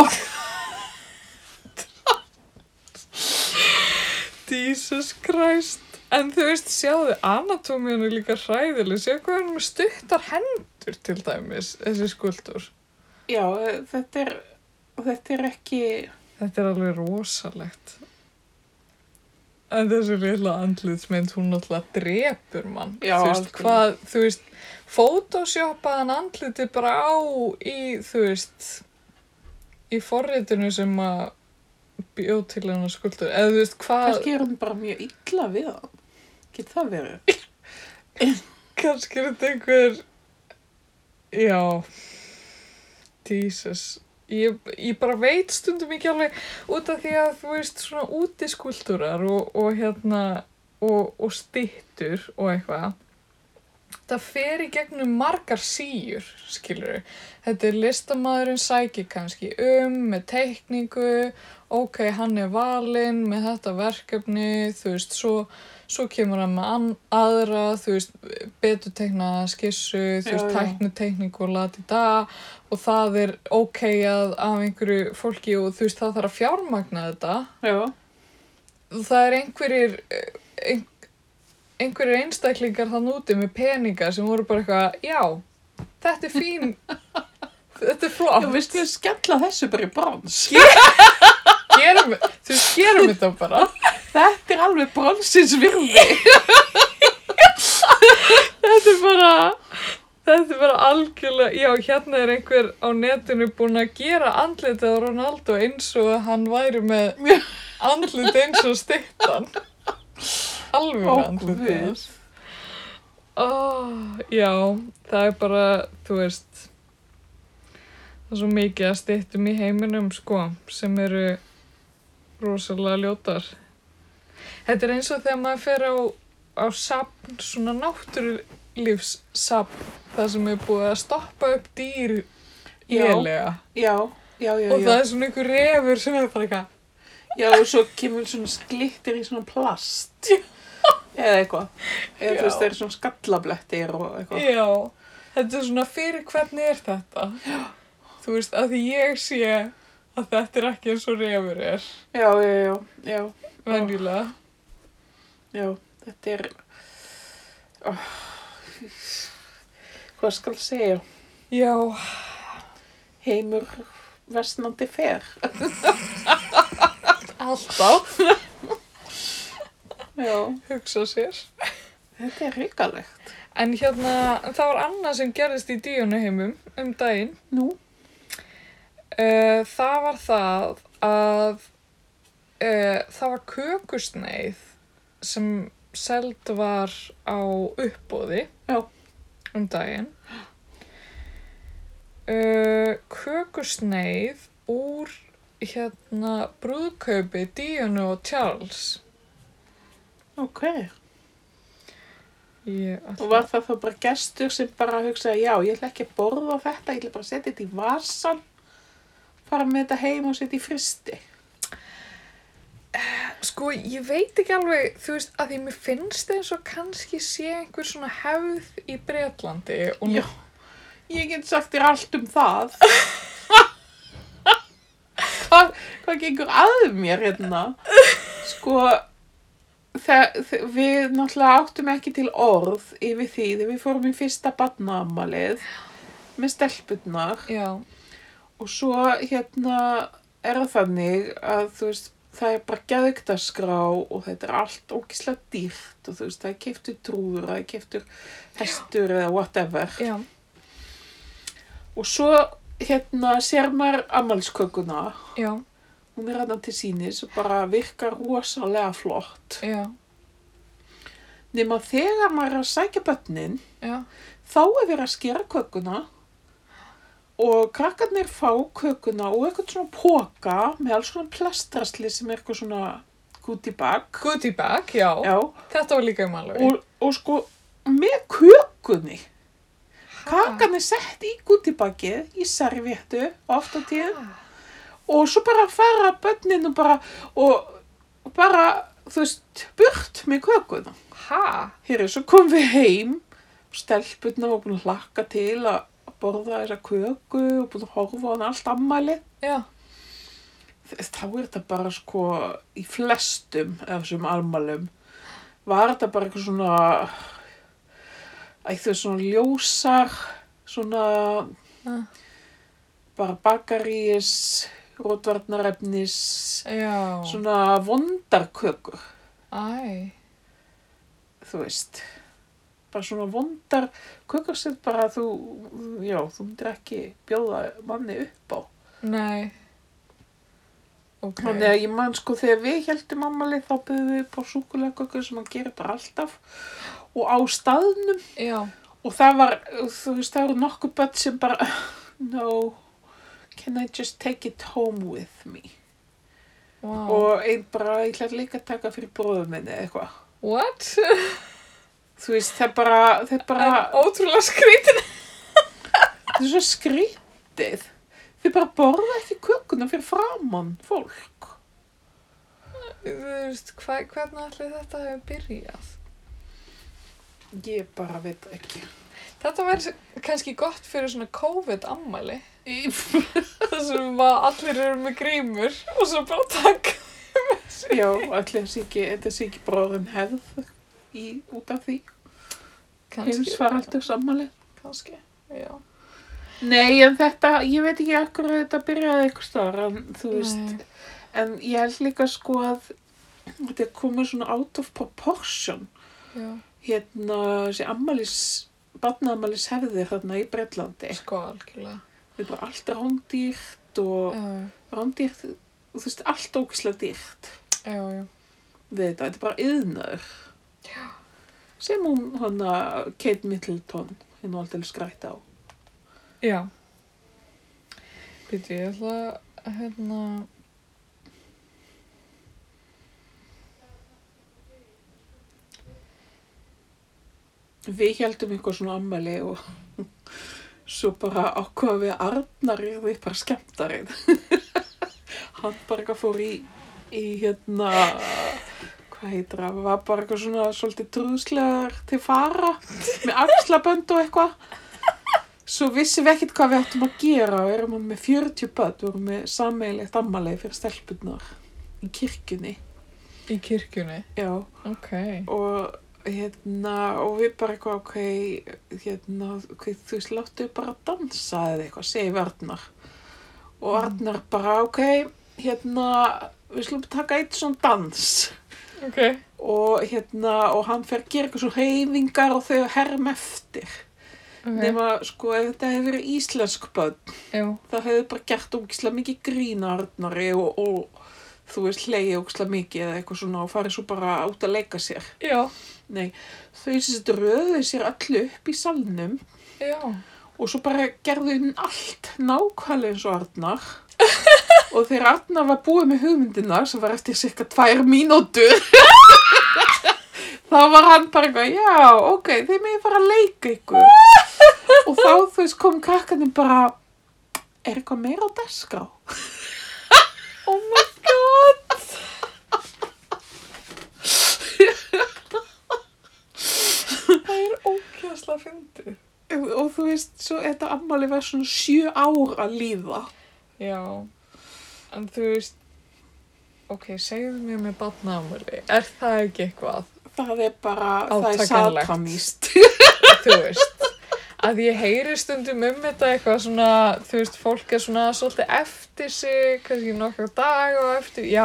Jesus Christ. En þú veist, sjáðu, anatómíun er líka hræðileg. Sjáðu hvað hann er með stuttar hendur til dæmis, þessi skuldur.
já þetta, er, þetta er ekki...
Þetta er alveg rosalegt. En þessi lilla andlitsmynd, hún náttúrulega drepur mann.
Já,
þú veist,
algjörlega.
hvað, þú veist, photoshopaðan andliti bara á í, þú veist, í forritinu sem að bjó til hennar skuldur. Eða þú veist, hvað,
Kannski er hann bara mjög illa við hann. Get það verið?
kannski er þetta einhver, já, Jesus. Ég, ég bara veit stundum ekki alveg út af því að þú veist svona útiskultúrar og, og hérna og, og stittur og eitthvað það fer í gegnum margar síur skilur þetta er listamaðurinn sæki kannski um með teikningu ok, hann er valinn með þetta verkefni þú veist, svo, svo kemur hann með an, aðra, þú veist betur teiknaða skissu þú
Já,
veist,
já.
tækni teikningu og lati dag og það er ok að af einhverju fólki og þú veist, það þarf að fjármagna þetta
Já.
það er einhverjir eh, ein, einhverjir einstaklingar þann úti með peninga sem voru bara eitthvað, já þetta er fín þetta er
Já,
flott
veistu, skella þessu bara í brons.
gerum, þú veist, gerum þetta bara
Þetta er alveg bronsins virði.
þetta er bara þetta er bara algjörlega, já, hérna er einhver á netinu búin að gera andlitið á Ronaldo eins og hann væri með andlitið eins og stittan alveg
Ó,
andlitið
Guð.
hans. Oh, já, það er bara, þú veist, það er svo mikið að stýttum í heiminum, sko, sem eru rosalega ljótar. Þetta er eins og þegar maður fer á, á sapn, svona náttúrulífssapn, það sem er búið að stoppa upp dýr
Já,
lélega.
Já, já, já,
Og
já.
það er svona einhver refur sem er bara eitthvað.
Já, og svo kemur svona sklittir í svona plast. Eða eitthvað. Eða
Já.
þú veist, það eru svona skallablettir og eitthvað.
Já, þetta er svona fyrir hvernig er þetta? Já. Þú veist, að því ég sé að þetta er ekki eins og refur er,
Já, já, já, já,
venjulega.
já. Þetta er... Oh. Hvað skal segja?
Já,
Heimur versnandi fer.
alltaf,
Já,
hugsa sér.
þetta er hrikalegt.
En hérna, það var annað sem gerðist í díunaheimum um daginn.
Nú,
Uh, það var það að uh, það var kökusneið sem seld var á uppbóði
Já.
um daginn. Uh, kökusneið úr hérna brúðkaupi Díunu og Charles.
ok.
Ég,
Og var það þá bara gestur sem bara hugsaði, já, ég ætla ekki að borða þetta, ég ætla bara að setja þetta í vasan, fara með þetta heim og setja í fristi.
Sko, ég veit ekki alveg, þú veist, að því mér finnst eins og kannski sé einhver svona hefð í Breitlandi og nú
Já. Ég get sagt þér allt um það. hvað, hvað gengur að mér hérna? Sko, það, það, við náttúrulega áttum ekki til orð yfir því þegar við fórum í fyrsta badnaamalið með stelpunnar
Já,
Og svo hérna er það þannig að þú veist, það er bara geðugtaskrá og þetta er allt ógislega dýrt og þú veist, það er keiftur trúður, það er keiftur hestur eða whatever.
já,
Og svo hérna sér maður ammælskökuna.
já,
Hún er hérna til sínis og bara virkar rosalega flott.
já,
Nefna þegar maður er að sækja börnin,
já,
þá er verið að skera kökuna og krakkarnir fá kökuna og eitthvað svona póka með alls svona plastrasli sem er eitthvað svona gúti bak.
goodie bag, já,
Já,
þetta var líka um alveg,
og, og sko með kökunni. Kakan er sett í gútibakið, í servéttu, oft á tíðum. Og svo bara fara börnin og bara, og bara, þú veist, burt með kökuna.
ha,
Hér er svo kom við heim, stelpunna var búin að hlakka til að borða þessa köku og búin að horfa á hann allt ammali.
já,
Þá er þetta bara sko í flestum af þessum almalum. Var þetta bara eitthvað svona, eitthvað svona ljósar, svona
Ah.
bara bakaríis, rótvarnarefnis,
já,
svona vondarkökur.
æ,
þú veist bara svona vondar kökur sem bara þú, já, þú myndir ekki bjóða manni upp á.
nei, ok,
Þannig að ég man sko þegar við heldum ammali þá byggðum við upp á súkulegkökur sem hann gerir bara alltaf og á staðnum
já,
og það var, þú veist, það eru nokkuð börn sem bara, no, can I just take it home with me?
wow,
Og einn bara, ég ætla líka að taka fyrir bróðum minni eða eitthvað.
what,
Þú veist, það er bara, það er bara...
ótrúlega skrítin,
Þetta er svo skrítið. Þið bara borða ekki kökuna fyrir framann fólk.
þú veist, hva, hvernig allir þetta hefur byrjað?
Ég bara veit ekki.
Þetta væri kannski gott fyrir svona COVID-ammæli. Það sem að allir eru með grímur og svo bara takk.
Já, allir sé ekki, þetta sé ekki bróðurinn hefð í, út af því. Heimsfaraldur sammali.
Kannski, já.
Nei, en þetta, ég veit ekki akkur að þetta byrjaði eitthvað staðar, en þú veist.
Nei.
En ég held líka sko að þetta er komið svona out of proportion.
Já,
Hérna, þessi ammalis, barnaammalis hefði þarna í Breitlandi.
sko algjörlega.
Þetta er bara allt rándýrt og...
Já,
rándýrt, þú veist, allt ógislega dýrt
já, já.
við þetta, þetta er bara yðnaður. Sem hún, hann að Kate Middleton, hinn var aldrei skrætt á.
Já. Býtu, ég ætla að, hérna...
Við heldum eitthvað svona ammæli og svo bara ákvaða við að Arnar er því bara skemmtarinn. hann bara eitthvað fór í, í hérna, hvað heitir það, var bara eitthvað svona svolítið trúðslegar til fara með axlabönd og eitthvað. Svo vissum við ekkert hvað við áttum að gera og erum hann með 40 börn, við erum með sammeilegt ammæli fyrir stelpunnar í kirkjunni.
Í kirkjunni.
Já,
Ok.
og hérna, og við bara eitthvað, ok, hérna, ok, þú veist, láttu bara að dansa eða eitthvað, segi við Arnar. Og Arnar bara, ok, hérna, við slum taka eitt svona dans.
Ok.
Og hérna, og hann fer að gera eitthvað svona reyfingar og þau herm eftir.
Ok.
Nefna, sko, ef þetta hefur verið íslensk börn,
Já,
það hefur bara gert ógislega mikið grína Arnari og, og þú veist, leiði ógislega mikið eða eitthvað svona og farið svo bara út að leika sér.
já,
Nei, þau sem sagt röðuðu sér allu upp í salnum
já.
og svo bara gerðu hún allt nákvæmlega eins og Arnar. og þegar Arnar var búið með hugmyndina sem var eftir cirka tvær mínútur, þá var hann bara eitthvað, já, ok, þeir megin fara að leika ykkur. og þá, þú veist, kom krakkanum bara, er eitthvað meira á deskrá?
Oh my god. Það er ókjæðslega fyndið.
Og þú veist, svo þetta ammali var svona sjö ár að líða.
Já, en þú veist, ok, segðu mér með batnaðamöli, er það ekki eitthvað,
Það er bara, það er
Átakanlegt.
satanist.
þú veist, að ég heyri stundum um þetta eitthvað svona, þú veist, fólk er svona svolítið eftir sig, kannski nokkra daga og eftir, já,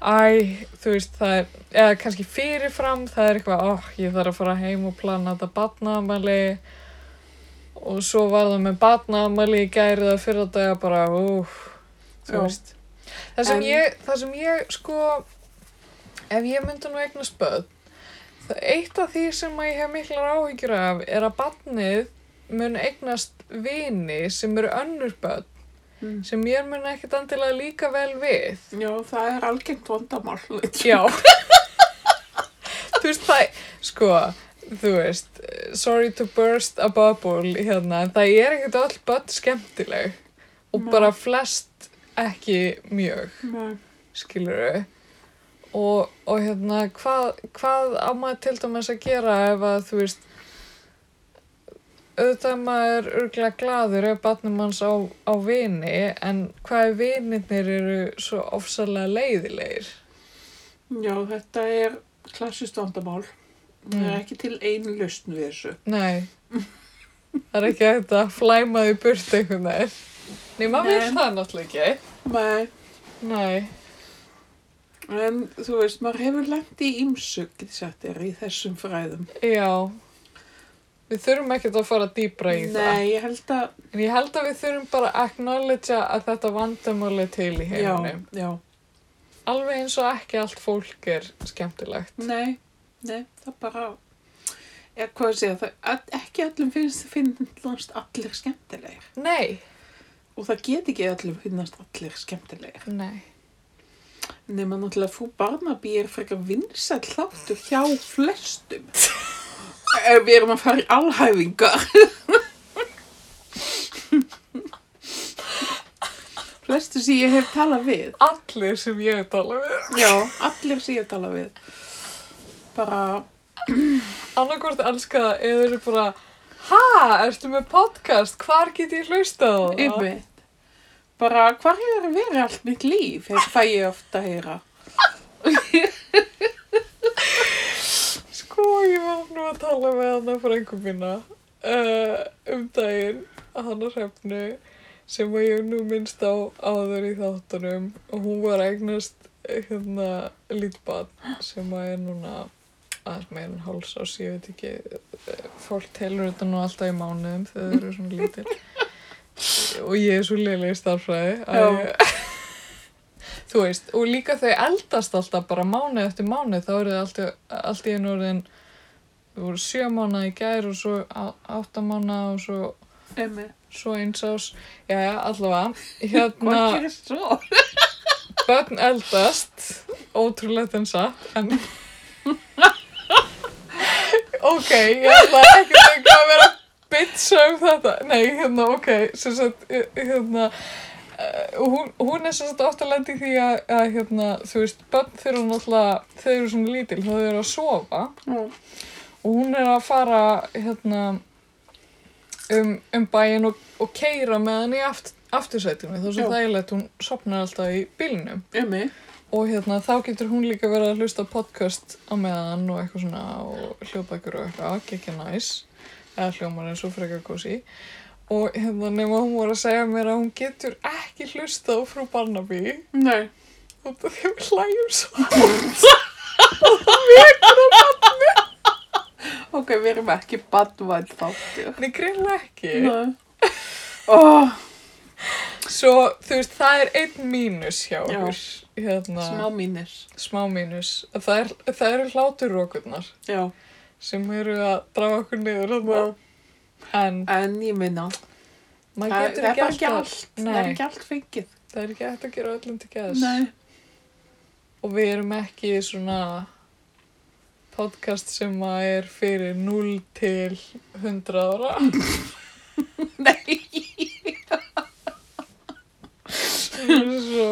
æ, þú veist, það er, eða kannski fyrirfram, það er eitthvað, ó, ég þarf að fara heim og plana þetta batnaðamöli og svo var það með batnaamæli í gæri það fyrir að dæja bara úf,
Já.
þú veist það sem,
En-
ég, það sem ég sko ef ég myndi nú eignast börn það eitt af því sem að ég hef miklar áhyggjur af er að batnið mun eignast vini sem eru önnur börn
Mm.
sem ég mun ekkit andilega líka vel við
Já, það er algengt vandamál.
Já Þú veist það, sko þú veist, sorry to burst a bubble hérna, en það er ekkert öll börn skemmtileg og
Nei.
bara flest ekki mjög,
Nei.
skilurðu og, og hérna hvað, hvað á maður til dæmis að gera ef að þú veist auðvitað er maður örglega gladur ef barnum hans á, á vini en hvað er vinirnir eru svo ofsalega leiðilegir
Já, þetta er klassist vandamál. Það er
Mm.
ekki til einu lausn við þessu.
Nei, það er ekki hægt að flæma því burt einhvern veginn. Nei, maður
Nei.
vil það náttúrulega ekki.
Nei,
Nei,
en þú veist, maður hefur lent í ímsu, getur sagt þér, í þessum fræðum.
já. Við þurfum ekkert að fara dýbra í það.
Nei, ég held að,
En ég held að við þurfum bara að acknowledgea að þetta vandamál er til í
já,
heiminum.
já.
Alveg eins og ekki allt fólk er skemmtilegt.
Nei, nei, það bara, ég, hvað ég segja, það, að, ekki allum finnst, finnast allir skemmtilegir.
Nei,
Og það get ekki allum finnast allir skemmtilegir.
nei.
Nefna náttúrulega frú Barnaby er frekar vinsæll þáttur hjá flestum. Ef við erum að fara í alhæfingar. Flestu sem ég hef talað við.
Allir sem ég tala við.
Já, allir sem ég hef talað við. Bara,
Annarkvort elska það eða eru bara, ha, ertu með podcast? Hvar get ég hlustað á það?
ymmið. Bara, hvar hefur verið allt mitt líf? Hef- Fæ ég ofta að heyra.
Sko, ég var nú að tala með hana frængu mína uh, um daginn, hana hrefnu, sem að ég hef nú minnst á áður í þáttunum og hún var að eignast eh, hérna lítbann sem að er núna aðeins meira en háls ás, ég veit ekki, eh, fólk telur þetta nú alltaf í mánuðum þegar þau eru svona lítil og ég er svo leilig í starfræði að
Já.
ég... Þú veist, og líka þau eldast alltaf bara mánuð eftir mánuð, þá eru þau alltaf, allt í einu orðin, þau voru sjö mánuð í gær og svo á- átta mánuð og svo,
Ymmið.
svo eins ás, já, allavega,
Hvað
hérna,
gerir svo?
börn eldast, ótrúlegt en satt, en... ok, ég ætla ekki lengur að vera bitcha um þetta, nei, hérna, ok, sem sagt, eh, hérna, eh, hún, hún er sem sagt oft að lendi því að, að, hérna, þú veist, börn þeir eru náttúrulega, þeir eru svona lítil, þá þau eru að sofa
Já.
og hún er að fara, hérna, um, um bæin og, og keira með hann í aft, aftursætinu, þá er
Já.
svo þægilegt, hún sopnar alltaf í bílnum
Ymmið.
og hérna þá getur hún líka verið að hlusta á podcast á meðan og eitthvað svona og hljóðbækur og eitthvað, gekkja næs eða hljómar eins og frekar kósi og hérna nema hún voru að segja mér að hún getur ekki hlusta á frú Barnaby
Nei.
út af því að við hlægjum svo
Ok, við erum ekki badvæl þáttur.
en ég greinlega ekki
Nei. Oh,
svo þú veist það er einn mínus hjá
Já.
okkur hérna,
smá mínir.
smá mínus það, er, það eru hláturrókurnar
Já.
sem eru að draga okkur niður hérna.
Well.
en
En ég minna, það
maður
það
getur
er
ekki
bara ekki
alltaf-
allt, það er
Nei.
ekki allt fengið.
Það er ekki hægt að gera öllum til geðs. Og við erum ekki svona podcast sem að er fyrir 0 til 100 ára.
Nei.
Við erum svo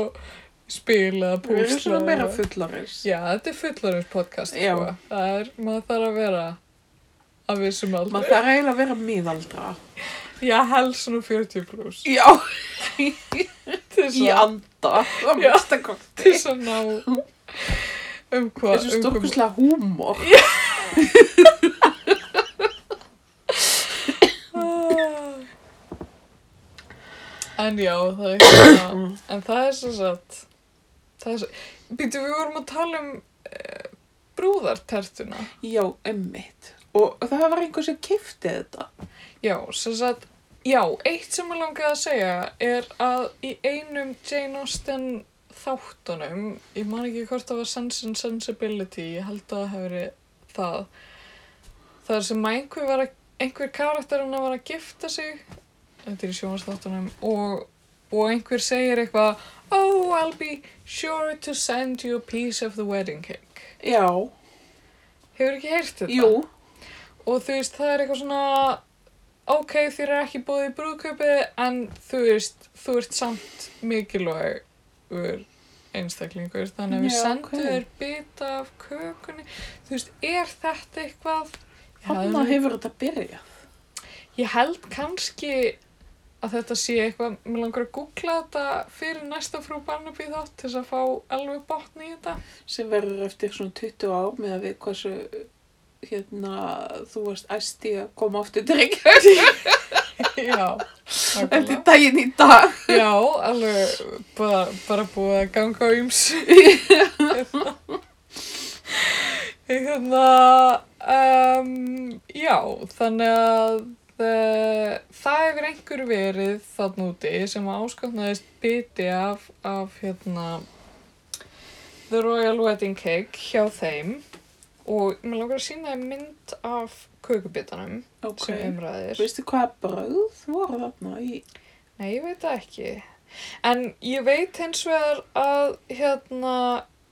spila,
Við erum
púsla.
svona meira fullarins.
Já, þetta er fullarins podcast,
Já.
sko. Það er, maður þarf að vera að vissum aldrei.
Maður þarf eiginlega að vera miðaldra.
Já, helst svona 40 pluss.
Já.
Til
Í
svo-
anda. Það
Já.
mesta
til
kokti.
svo ná um hvað.
Þessu
um hvað-
stórkuslega húmor.
Ah. En já, það er hérna, en það er svo satt, það er svo, býtu við vorum að tala um e, eh, brúðartertuna
Já, emmitt. Og það var einhver sem kifti þetta.
Já, sem sagt, já, eitt sem ég langaði að segja er að í einum Jane Austen þáttunum, ég man ekki hvort það var Sense and Sensibility, ég held að það hefur verið það, þar sem einhver, var að, einhver karakterina var að gifta sig, þetta er í sjónastáttunum, og, og einhver segir eitthvað, Oh, I'll be sure to send you a piece of the wedding cake.
Já,
Hefur ekki heyrt þetta?
jú,
og þú veist það er eitthvað svona ok þér er ekki búið í brúðkaupið en þú veist þú ert samt mikilvægur einstaklingur þannig að við
Já,
sendum
ok.
þér bita af kökunni þú veist er þetta eitthvað Ég hafði
hann
nú-
hefur þetta byrjað.
ég held kannski að þetta sé eitthvað mér langar að googla þetta fyrir næsta frú Barnaby þátt til þess að fá alveg botn í þetta
Sem verður eftir svona 20 ár með að við hversu hérna, þú varst æsti að koma aftur til Reykjavík
já
eftir
nákvæmlega.
daginn í dag.
já alveg bara, bara búið að ganga á ymsu Hérna, um, já, þannig að uh, það hefur einhver verið þann úti sem áskotnaðist biti af, af hérna, The Royal Wedding Cake hjá þeim og mér langar að sína þeim mynd af kökubitanum
Ok,
sem umræðir.
veistu hvaða bröð voru þarna í...
Nei, ég veit það ekki. En ég veit hins vegar að hérna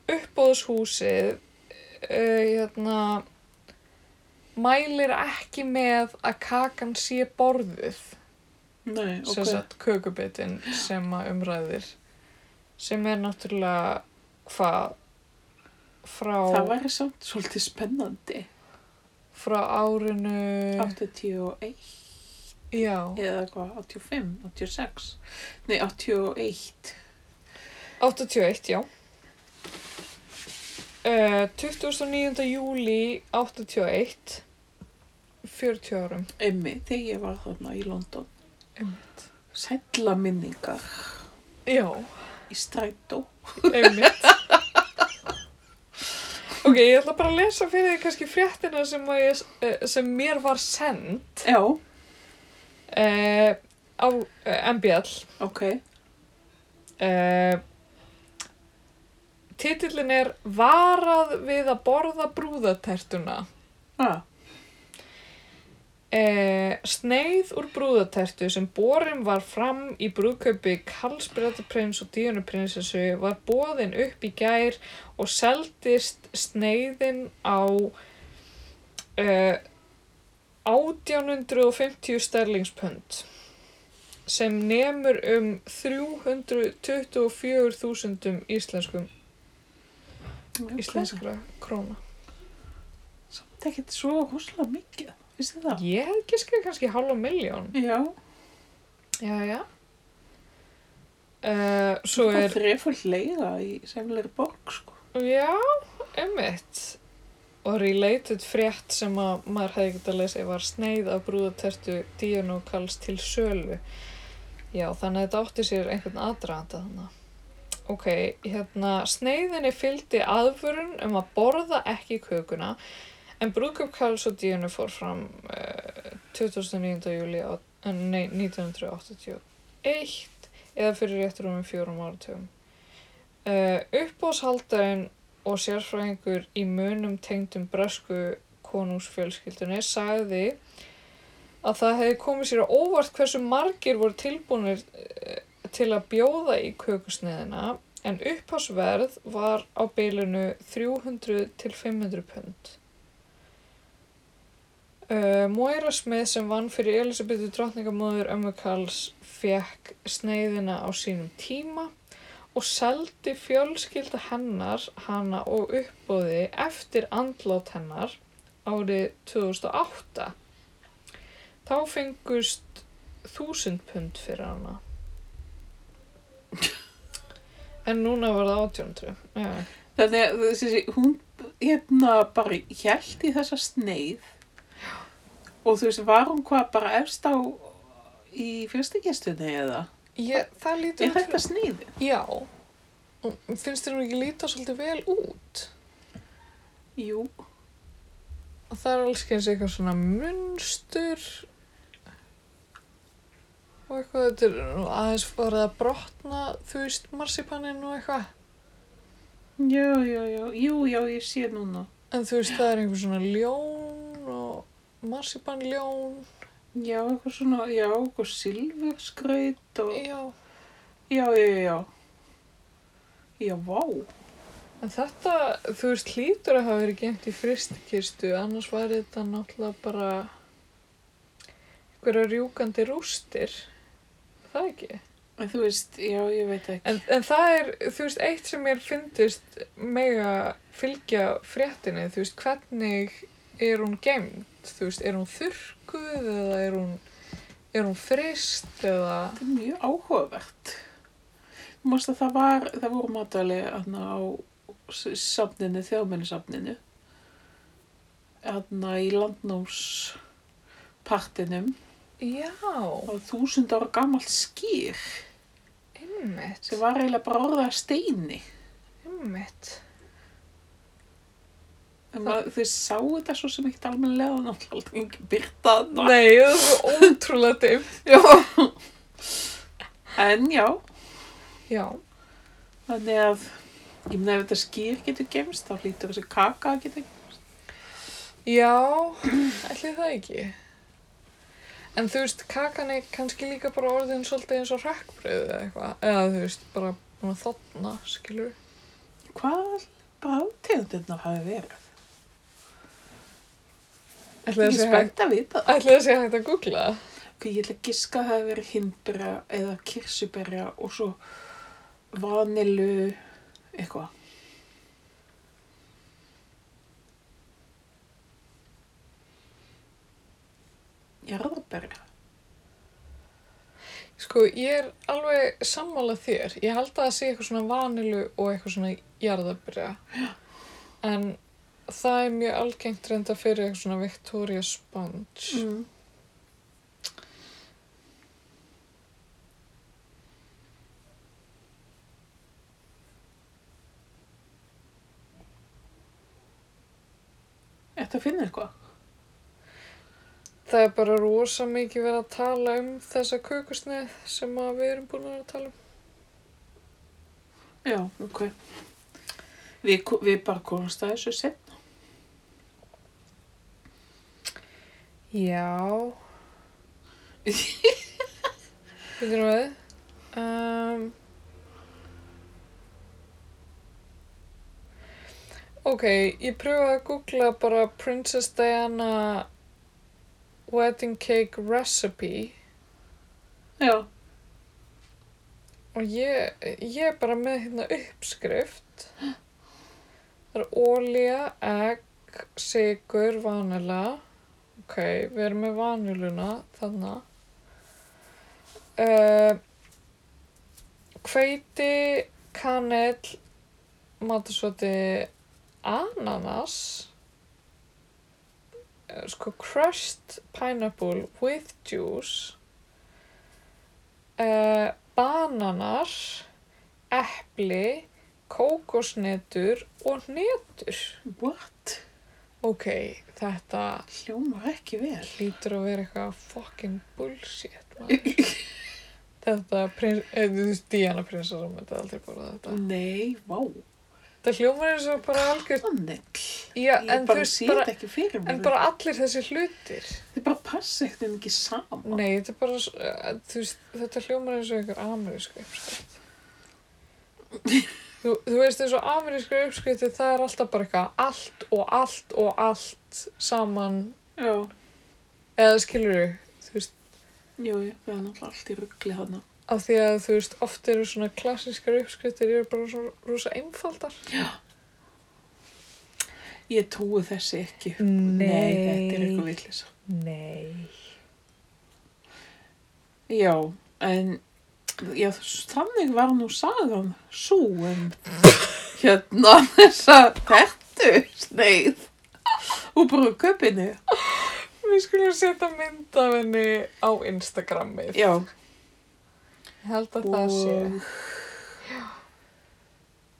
uppbóðshúsið uh, hérna mælir ekki með að kakan sé borðuð
Nei,
sem
ok.
sagt kökubitin sem að umræðir sem er náttúrulega hvað
Það
frá,
væri samt svolítið spennandi.
frá árinu
81
já,
eða hvað, 85, 86. Nei, 81.
81, já. Uh, 29. júli 81, 40 árum.
Emmi, þegar ég var þarna í London.
Einmitt.
Sælla minningar
Já,
í strætó.
einmitt. ok, ég ætla bara að lesa fyrir því kannski fréttina sem, að ég, eh, sem mér var send
Já,
uh, á uh, MBL.
ok.
Uh, titillin er Varað við að borða brúðatertuna.
Ah,
Eh, sneið úr brúðatertu sem borin var fram í brúðkaupi Karlsbrettaprins og Díunuprinsessu var boðin upp í gær og seldist sneiðin á eh, 1850 sterlingspönd sem nemur um 324.000 íslenskum
ok.
íslenskra króna.
Samt ekkert svo húslega mikið, vissi það?
Ég hef giskað kannski halva miljón.
Já,
Já, já. Uh, svo
það
er,
er þreföld leiða í semleiri borg, sko.
já, emmitt. Og related frétt sem að maður hefði getað að lesa var sneið af brúðatertu Díun og Karls til sölu. Já, þannig að þetta átti sér einhvern aðdraðanda þannig. Ok, hérna, sneiðinni fylgdi aðvörun um að borða ekki kökuna en brúðköp Karls og Díunu fór fram uh, 29. júli á, eh, nei, 1981 eða fyrir réttur um fjórum áratugum. Uh, uppbóðshaldarinn og sérfræðingur í munum tengdum bresku konungsfjölskyldunni sagði að það hefði komið sér á óvart hversu margir voru tilbúinir eh, til að bjóða í kökusneðina en upphásverð var á bylunu 300 til 500 pund. Uh, Moira Smith sem vann fyrir Elisabetu drottningamóður ömmu Karls fekk sneiðina á sínum tíma og seldi fjölskylda hennar hana og uppbóði eftir andlát hennar árið 2008. Þá fengust 1000 pund fyrir hana. En núna var það 1800. Já,
Þannig að þessi, hún hérna bara hjælt í þessa sneið og þú veist, var hún hvað bara efst á í fjörstakestunni eða?
ég, það lítur
Er þetta sneiði?
Já. Finnst þér hún ekki líta svolítið vel út?
Jú,
Og það er alls keins eitthvað svona munstur og eitthvað, þetta er nú aðeins farið að brotna, þú veist, marsipaninn og eitthvað.
Já, já, já, jú, já, ég sé núna.
En þú veist, það er einhver svona ljón og marsipanljón,
Já, eitthvað svona, já, eitthvað silfurskreid og...
já.
Já, já, já, já. Já, vá.
En þetta, þú veist, hlýtur að hafa verið gemt í fristikistu, annars var þetta náttúrulega bara einhverja rjúkandi rústir, Er það ekki?
En þú veist, já, ég veit ekki.
En, en það er, þú veist, eitt sem mér fyndist mega fylgja fréttinni, þú veist, hvernig er hún gemd, þú veist, er hún þurrkuð eða er hún, er hún frist eða,
Þetta er mjög áhugavert. Þú mást að það var, það voru matali aðna á s- safninu, þjóðmennisafninu. Aðna í landnámspartinum
já,
og þúsund ára gamalt skýr
einmitt,
sem var eiginlega bara orðað að steini.
einmitt,
En maður, þau sáu þetta svo sem ekkert almennilega náttúrulega engin byrta þarna.
nei, það er svo ótrúlega dimm,
Já. En já,
já,
þannig að ég meina ef þetta skýr getur gemst þá hlýtur þessi kaka að geta
já, ætli það ekki, en þú veist, kakan er kannski líka bara orðin svolítið eins og hrakkbröð eða eitthvað, eða þú veist, bara búin að þotna, skilur,
Hvað brátegundirnar hafi verið?
ætli
Ég
það
er
sé hægt
spennt að vita það.
Ætli það sé hægt að googla það?
Ég ætla að giska að það hafi verið hindberja eða kirsuberja og svo vanilu eitthvað. Jarðarberja.
Sko, ég er alveg sammála þér. Ég held að það sé eitthvað svona vanilu og eitthvað svona jarðabyrja. En það er mjög algengt reynda fyrir eitthvað svona Victoria Sponge.
Mm. Þetta finnir eitthvað.
Það er bara rosa mikið verið að tala um þessa kökusneið sem að við erum búin að vera að tala um.
Já, ok. Við, ko- við bara komumst að þessu sinn.
Já. Við erum við. Um, ok, ég pröfaði að googla bara Princess Diana Wedding Cake Recipe
Já,
og ég, ég er bara með hérna uppskrift. Það er ólía, egg, sigur, vanila. Ok, við erum með vaniluna þarna. Uh, hveiti, kanel, matasvoti, ananas, eh, sko crushed pineapple with juice, uh, bananar, epli, kókosnetur og hnetur.
what?
Ok, þetta
Hljómar ekki vel.
hlýtur að vera eitthvað fucking bullshit maður. þetta prins, eða þú veist Diana prinsessa myndi aldrei borða þetta
Nei, vá.
þetta hljómar eins og bara algjör
Þannig.
já,
Ég
en, þú
bara
veist,
sé þetta
bara,
ekki fyrir mér.
en bara allir þessi hlutir
Þetta bara passa eitthvað ekki saman.
nei, þetta er bara s- eh, þú veist, þetta hljómar eins og einhver amerísku uppskrift þú, þú veist eins og amerísku uppskrifti það er alltaf bara eitthvað allt og allt og allt saman
Já,
eða skilur þú veist
jú, jú, það er náttúrulega allt í ruggli hana.
af því að þú veist, oft eru svona klassískar uppskriftir, eru bara svona rosa einfaldar.
Ég trúi þessi ekki.
Nei.
þetta er eitthvað villis.
Nei.
Já, en já, þannig var nú sagan svo en hérna þessa tertu sneið úr brúköpinu.
Við skulum setja mynd af henni á Instagramið.
Já,
Ég held að það sé.
og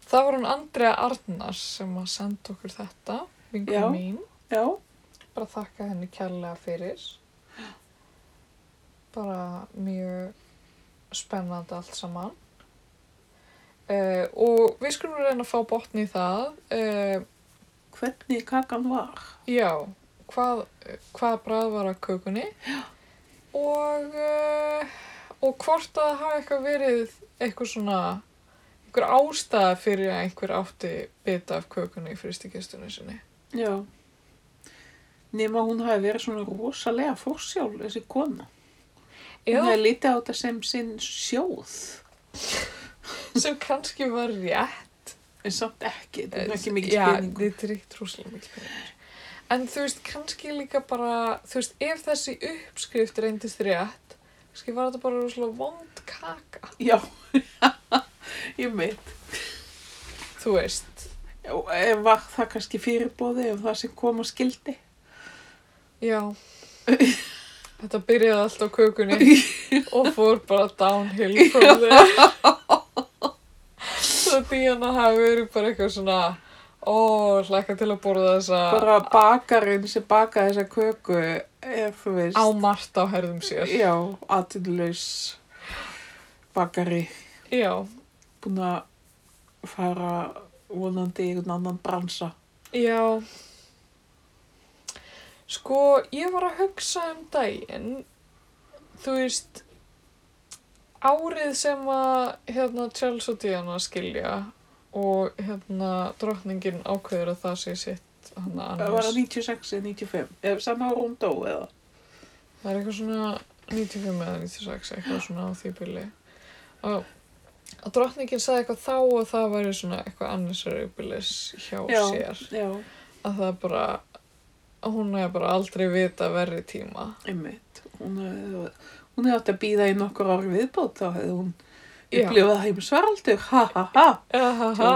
Það var hún Andrea Arnars sem að senda okkur þetta, vingur
Já.
mín.
já,
bara þakka henni kærlega fyrir. Bara mjög spennandi allt saman. Uh, og við skulum reyna að fá botni í það. Uh,
Hvernig kakan var?
já, hvað, hvað brað var að kökunni? Já. Og, uh, og hvort að það hafi eitthvað verið eitthvað svona, einhver ástæða fyrir að einhver átti bita af kökunni í fristikistunni sinni.
Já. Nefn að hún hafi verið svona rosalega fórsjál, þessi kona. Hún
Eða
hafi litið á þetta sem sinn sjóð.
sem kannski var rétt.
En samt ekki, þetta er ekki mikið
Já,
spilningu.
þetta er ekkert rosalega mikið peningur. En þú veist, kannski líka bara, þú veist, ef þessi uppskrift reyndist rétt, kannski var þetta bara rosalega vond kaka,
Já, ég veit.
þú veist.
Og ef Var það kannski fyrirbóði ef það sem kom að skildi?
Já. Þetta byrjaði allt á kökunni og fór bara downhill from there. Svo Díana hafi verið bara eitthvað svona, ó, hlækka til að borða þessa
Bara bakarinn sem bakaði þessa köku, ef þú veist.
á margt á herðum sér.
Já, atinlaus bakari.
Já,
Búin að fara vonandi í einhvern annan bransa.
Já. Sko, ég var að hugsa um daginn, þú veist, árið sem að hérna Charles og Diana skilja og hérna drottningin ákveður að það sé sitt hann að
Það
annars.
var það 96 eða 95, eða sama árum dó eða.
Það er eitthvað svona 95 eða 96, eitthvað svona á því byrli. Og, og drottningin sagði eitthvað þá og það væri svona eitthvað annisari byrlis hjá
Já.
sér.
Já,
að það bara að hún hefði bara aldrei vita verri tíma
einmitt. Hún hefði hún hefði átt að býða í nokkur ár viðbót, þá hefði hún
Já.
upplifað heimsvaraldur, ha ha ha.
Ahaha.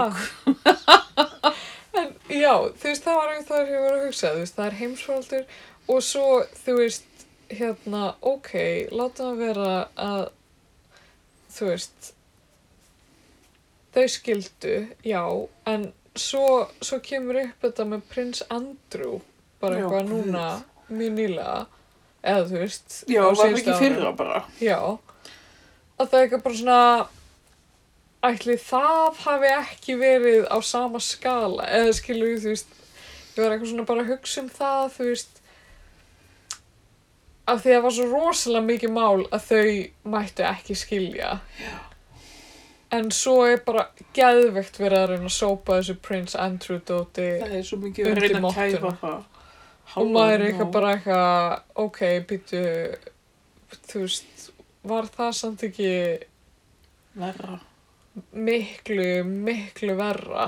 en já, þú veist það var einhvern það sem ég var að hugsa þú veist, það er heimsfaldur og svo þú veist, hérna ok, láta það vera að þú veist þau skildu já, en svo svo kemur upp þetta með prins Andrew bara
Já,
eitthvað
guð.
núna mjög nýlega, eða þú veist
Já,
á
var það
síðustu
ekki
árum.
fyrra bara.
Já, að það er eitthvað bara svona, ætli það hafi ekki verið á sama skala, eða skilur við, þú veist, ég var eitthvað svona bara að hugsa um það, þú veist, af því að það var svo rosalega mikið mál að þau mættu ekki skilja. Já. En svo er bara geðvegt verið að reyna að sópa þessu Prince Andrew dóti
Það er svo mikið
Undir
að reyna að
mottuna.
kæfa það.
og maður er eitthvað bara eitthvað, ok, býtu, þú veist, var það samt ekki...
Verra.
miklu, miklu verra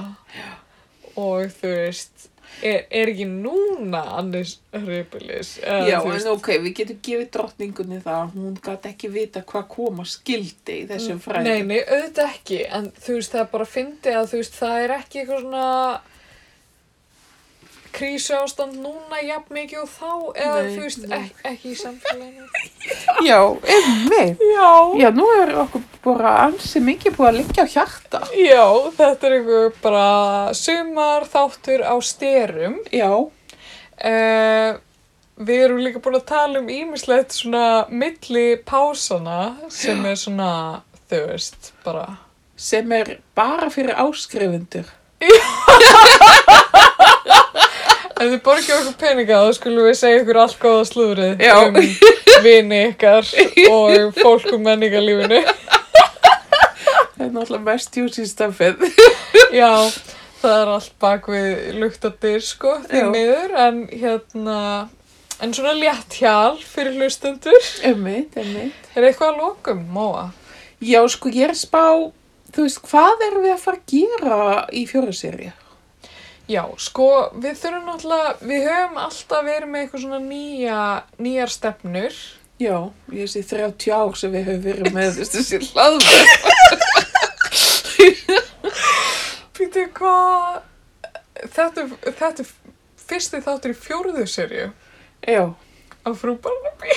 og þú veist er, er ekki núna annars hripilis
Já, en ok, við getum gefið drottningunni það að hún gæti ekki vita hvað koma skildi í þessum
Nei,
fræðum.
nei, auðvitað ekki en þú veist það er bara að fyndi að þú veist það er ekki eitthvað svona krísu ástand núna jafn mikið og þá eða
Nei,
þú veist
nei.
ek, ekki í samfélaginu
Já, einmitt.
Já
Já, nú er okkur bara ansi mikið búið að liggja á hjarta.
Já, þetta er einhver bara sumar þáttur á styrum
Já,
Eh, við erum líka búin að tala um ýmislegt svona milli pásana sem er svona, þú veist, bara
sem er bara fyrir áskrifundur.
Ef þið borgið okkur peninga þá skulum við segja ykkur allt góða slúðrið
Já.
um vini ykkar og fólk um menningarlífinu.
Það er náttúrulega mest júsístafið.
Já, það er allt bak við luktadir sko, því
Já.
miður, en hérna, en svona létt hjal fyrir hlustendur.
Einmitt, einmitt.
Er eitthvað að lokum, Móa?
Já, sko, ég er að spá, þú veist, hvað erum við að fara að gera í fjóruðsýri?
Já, sko, við þurfum náttúrulega, við höfum alltaf verið með eitthvað svona nýja, nýjar stefnur.
Já, ég þessi 30 ár sem við höfum verið með þessi- þessi hlaðverð.
Býtu hvað, þetta, er- þetta er fyrsti þáttur í fjóruðu serju
Já,
á frú Barnaby.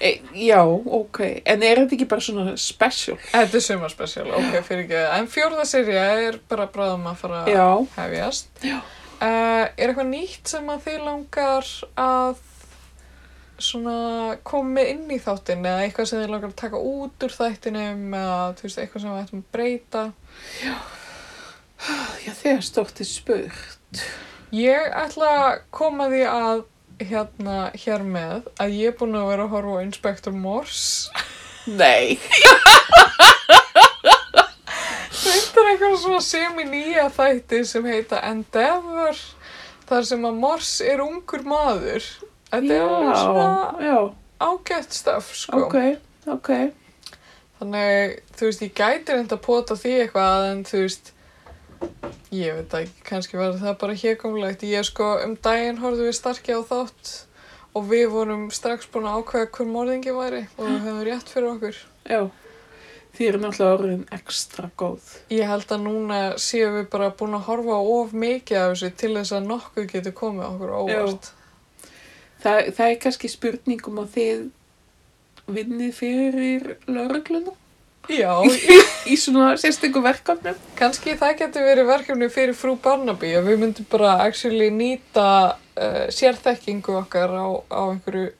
e, já, ok. En er þetta ekki bara svona special?
Þetta er sumarspecial, ok, fyrir ekki það. En fjóruða serja er bara bráðum að fara að
Já,
hefjast. Já. Uh, er eitthvað nýtt sem að þið langar að svona komið inn í þáttin eða eitthvað sem þið langar að taka út úr þættinum eða þú veist, eitthvað sem við ættum að breyta?
Já, þegar stótti spurt.
Ég ætla að koma því að hérna hér með að ég er búin að vera að horfa á Inspector Morse.
Nei.
Þetta er eitthvað svona semi-nýja þætti sem heita Endeavor þar sem að Morse er ungur maður. Þetta er alveg svona
já,
ágætt stöf, sko.
ok, ok.
Þannig, þú veist, ég gæti reynda að pota því eitthvað, en þú veist, ég veit það ekki, kannski var það bara hérkomlegt. Ég sko, um daginn horfðum við starki á þátt og við vorum strax búin að ákveða hver morðingi væri og við höfum rétt fyrir okkur.
Já. Því er náttúrulega orðin ekstra góð.
Ég held að núna séum við bara búin að horfa á of mikið af þessu til þess að nokkuð getur komið okkur á óvart.
Þa, það er kannski spurningum að þið vinnið fyrir laurugluna
Já,
í svona sérstökum verkefnum.
kannski það getur verið verkefni fyrir frú Barnaby að við myndum bara actually nýta uh, sérþekkingu okkar á, á einhverju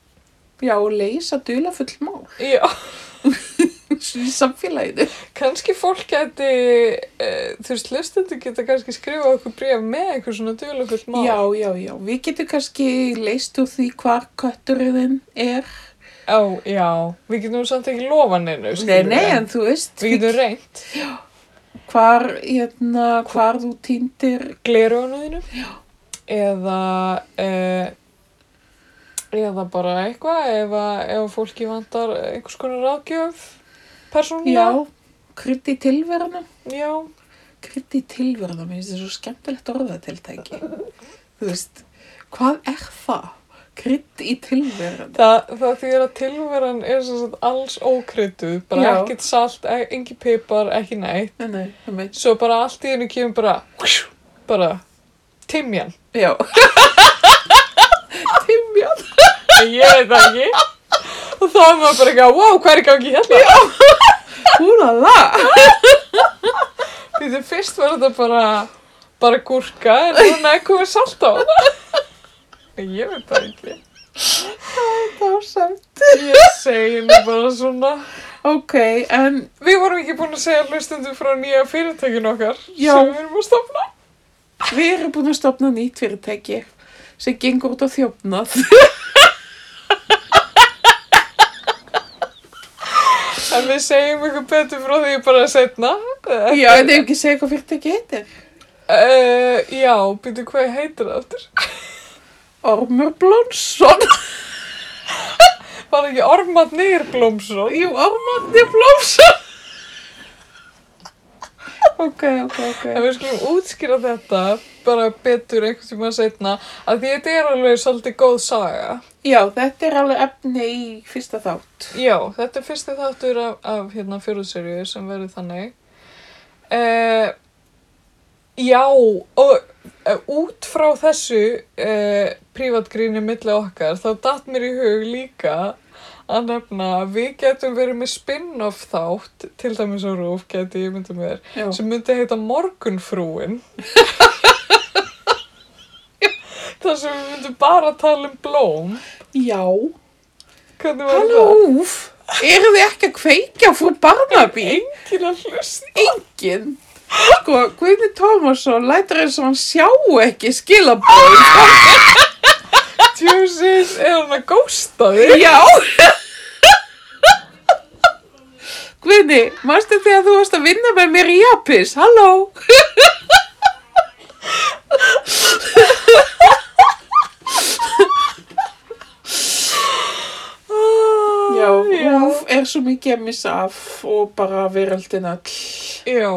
Já, og leysa dula full mál
Já,
í samfélaginu.
kannski fólk geti, uh, þú veist, hlustendur geta kannski skrifað okkur bréf með einhver svona duðlufullt mál.
Já, já, já. Við getum kannski leist úr því hvar kötturinn er.
Ó, já, við getum samt ekki lofa neinu,
Nei,
skilur
nei, en þú veist,
Við getum reynt
hvar, hérna, hvar þú týndir.
gleruðinu þínu. Já. Eða, uh, eða bara eitthvað, ef, að- ef fólki vantar einhvers konar ráðgjöf, persónulega.
Já, krydd í tilveruna.
Já,
Krydd í tilveruna, mér finnst þetta svo skemmtilegt orðatiltæki. Þú veist, hvað er það? Krydd í tilveruna.
Það, það þýðir að tilveran er sem sagt alls ókrydduð, bara
Já.
ekkert salt, e- engin pipar, ekki neitt.
Nei, nei, það meins.
Svo bara allt í hennu kemur bara, bara, timjan.
Já. Timjan.
Ég veit það ekki. Og þá er maður bara eitthvað, wow, hvað er í gangi hérna? Já.
Húlala.
Því þau fyrst var þetta bara, bara gúrka, en núna er komið salt á. Ég veit það ekki.
Það var sæmt.
Ég segi nú bara svona.
Ok, en
Við vorum ekki búin að segja hlustundum frá nýja fyrirtækinu okkar
Já.
sem við erum að stofna.
við erum búin að stopna nýtt fyrirtæki sem gengur út á þjófnað.
En við segjum ykkur betur frá því bara setna.
Já, en þau ekki segja hvað fyrirtæki heitir.
Uh, já, býtu hvað heitir það aftur?
Ormur Blónsson.
Var það ekki Ormat Nýrblómsson?
Jú, Ormandi Blónsson. Ok, ok,
En
ok.
við skulum útskýra þetta bara betur einhvern tíma setna að því þetta er alveg svolítið góð saga.
Já, þetta er alveg efni í fyrsta þátt.
Já, þetta er fyrsti þáttur af, af hérna fjóruðserju sem verður þannig. Uh, já, og uh, út frá þessu uh, privatgríni milli okkar þá datt mér í hug líka að nefna að við getum verið með spin-off þátt, til dæmis á Rúf geti ég myndið mér,
Já.
sem myndi heita Morgunfrúin. Þar sem við myndum bara tala um blóm.
Já.
Hvernig var
Halló, úf. Eru þið ekki að kveikja frú Barnaby?
Enginn að hlusta.
Engin. Sko, Guðni Tómasson lætur eins og hann sjáu ekki skilabóð.
Tjósis, er hann að gósta þig?
Já. Guðni, manstu þegar þú varst að vinna með mér í Japis? Halló. Já,
já.
úf er svo mikið að missa af og bara veröldin all.
Já,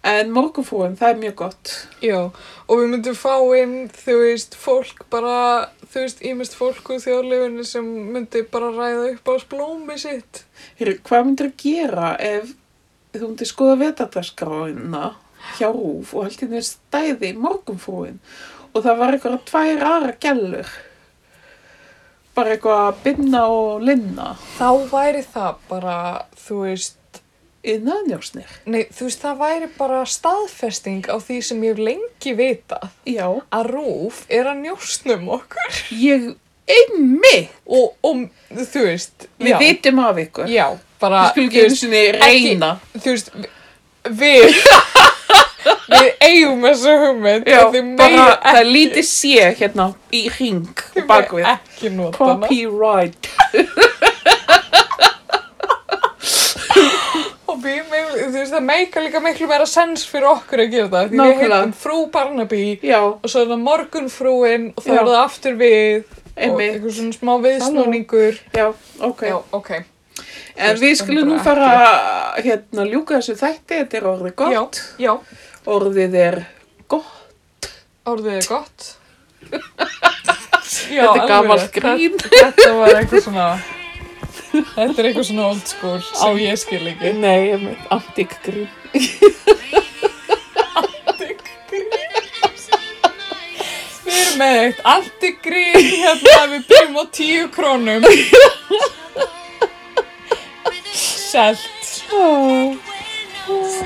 En morgunfrúin, það er mjög gott.
já. Og við myndum fá inn, þú veist, fólk bara, þú veist, ímest fólk úr þjóðlefinu sem myndi bara ræða upp á splómi sitt.
Heyrðu, hvað myndir að gera ef þú myndir skoða vetardagsgráina hjá Rúf og held hérna stæði morgunfrúin og það var eitthvað tvær aðra gælur bara eitthvað að binna og linna
Þá væri það bara, þú veist,
yðnaðnjósnir.
Nei, þú veist, það væri bara staðfesting á því sem ég hef lengi vitað
Já,
að Rúf er að njósnum okkur
ég einmitt,
og, og þú veist,
við
já,
vitum af ykkur.
já, bara,
Við skulum
þú
ekki einu
veist,
sinni reyna.
þú veist, við, við eigum þessu hugmynd
Já,
og þið
bara,
megið
það er lítið sé hérna í ring og bakvið.
ekki nota hana
Copyright.
og við, við, þú veist, það meika líka miklu meira sens fyrir okkur að gera það því við
Nákvæmlega.
heitum frú Barnaby
Já,
og svo er það morgunfrúin og það
Já.
er það aftur við og
Einmitt.
einhver svona smá viðsnúningur
já, ok.
Já, ok,
En
Þú
við
veist,
skulum
bara
nú fara að hérna, ljúka þessu þætti, þetta er orðið gott.
já,
Orðið er gott,
orðið er gott já,
þetta er gamalt
alveg rétt.
grín.
Þetta var eitthvað svona Þetta er eitthvað svona old school sem ég skil ekki
Nei, ég með antík grín.
Við erum með eitt antigrím hérna við byrjum á tíu krónum Selt
Oh.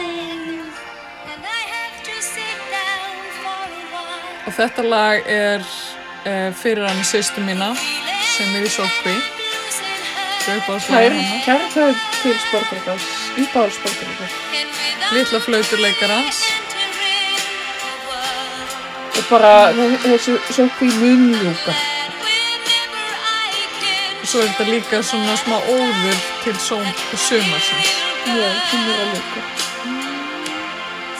Og þetta lag er uh, fyrir hann sýstu mína sem er í sókvi
Það er
Draupáðslega hennar
kæra það til sportrekars, í báður sportrekars.
Lilla flautuleikarans
Og bara þe- þessu sjökk í mun ljúka.
og svo er þetta líka svona smá óður til sömarsins
Já, hún er að ljúka.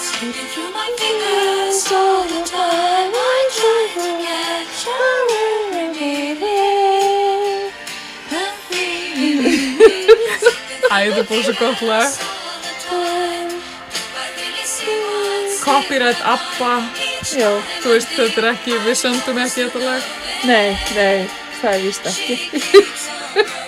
Slipping through my fingers all the time. I try to catch her every day. Nothing is
Æ, þetta er búið svo gott lag
all the time. I really see what's
Copyright Abba
Já,
Þú veist, þetta er ekki, við sömdum ekki þetta lag
nei, nei, það er víst ekki.
She keeps on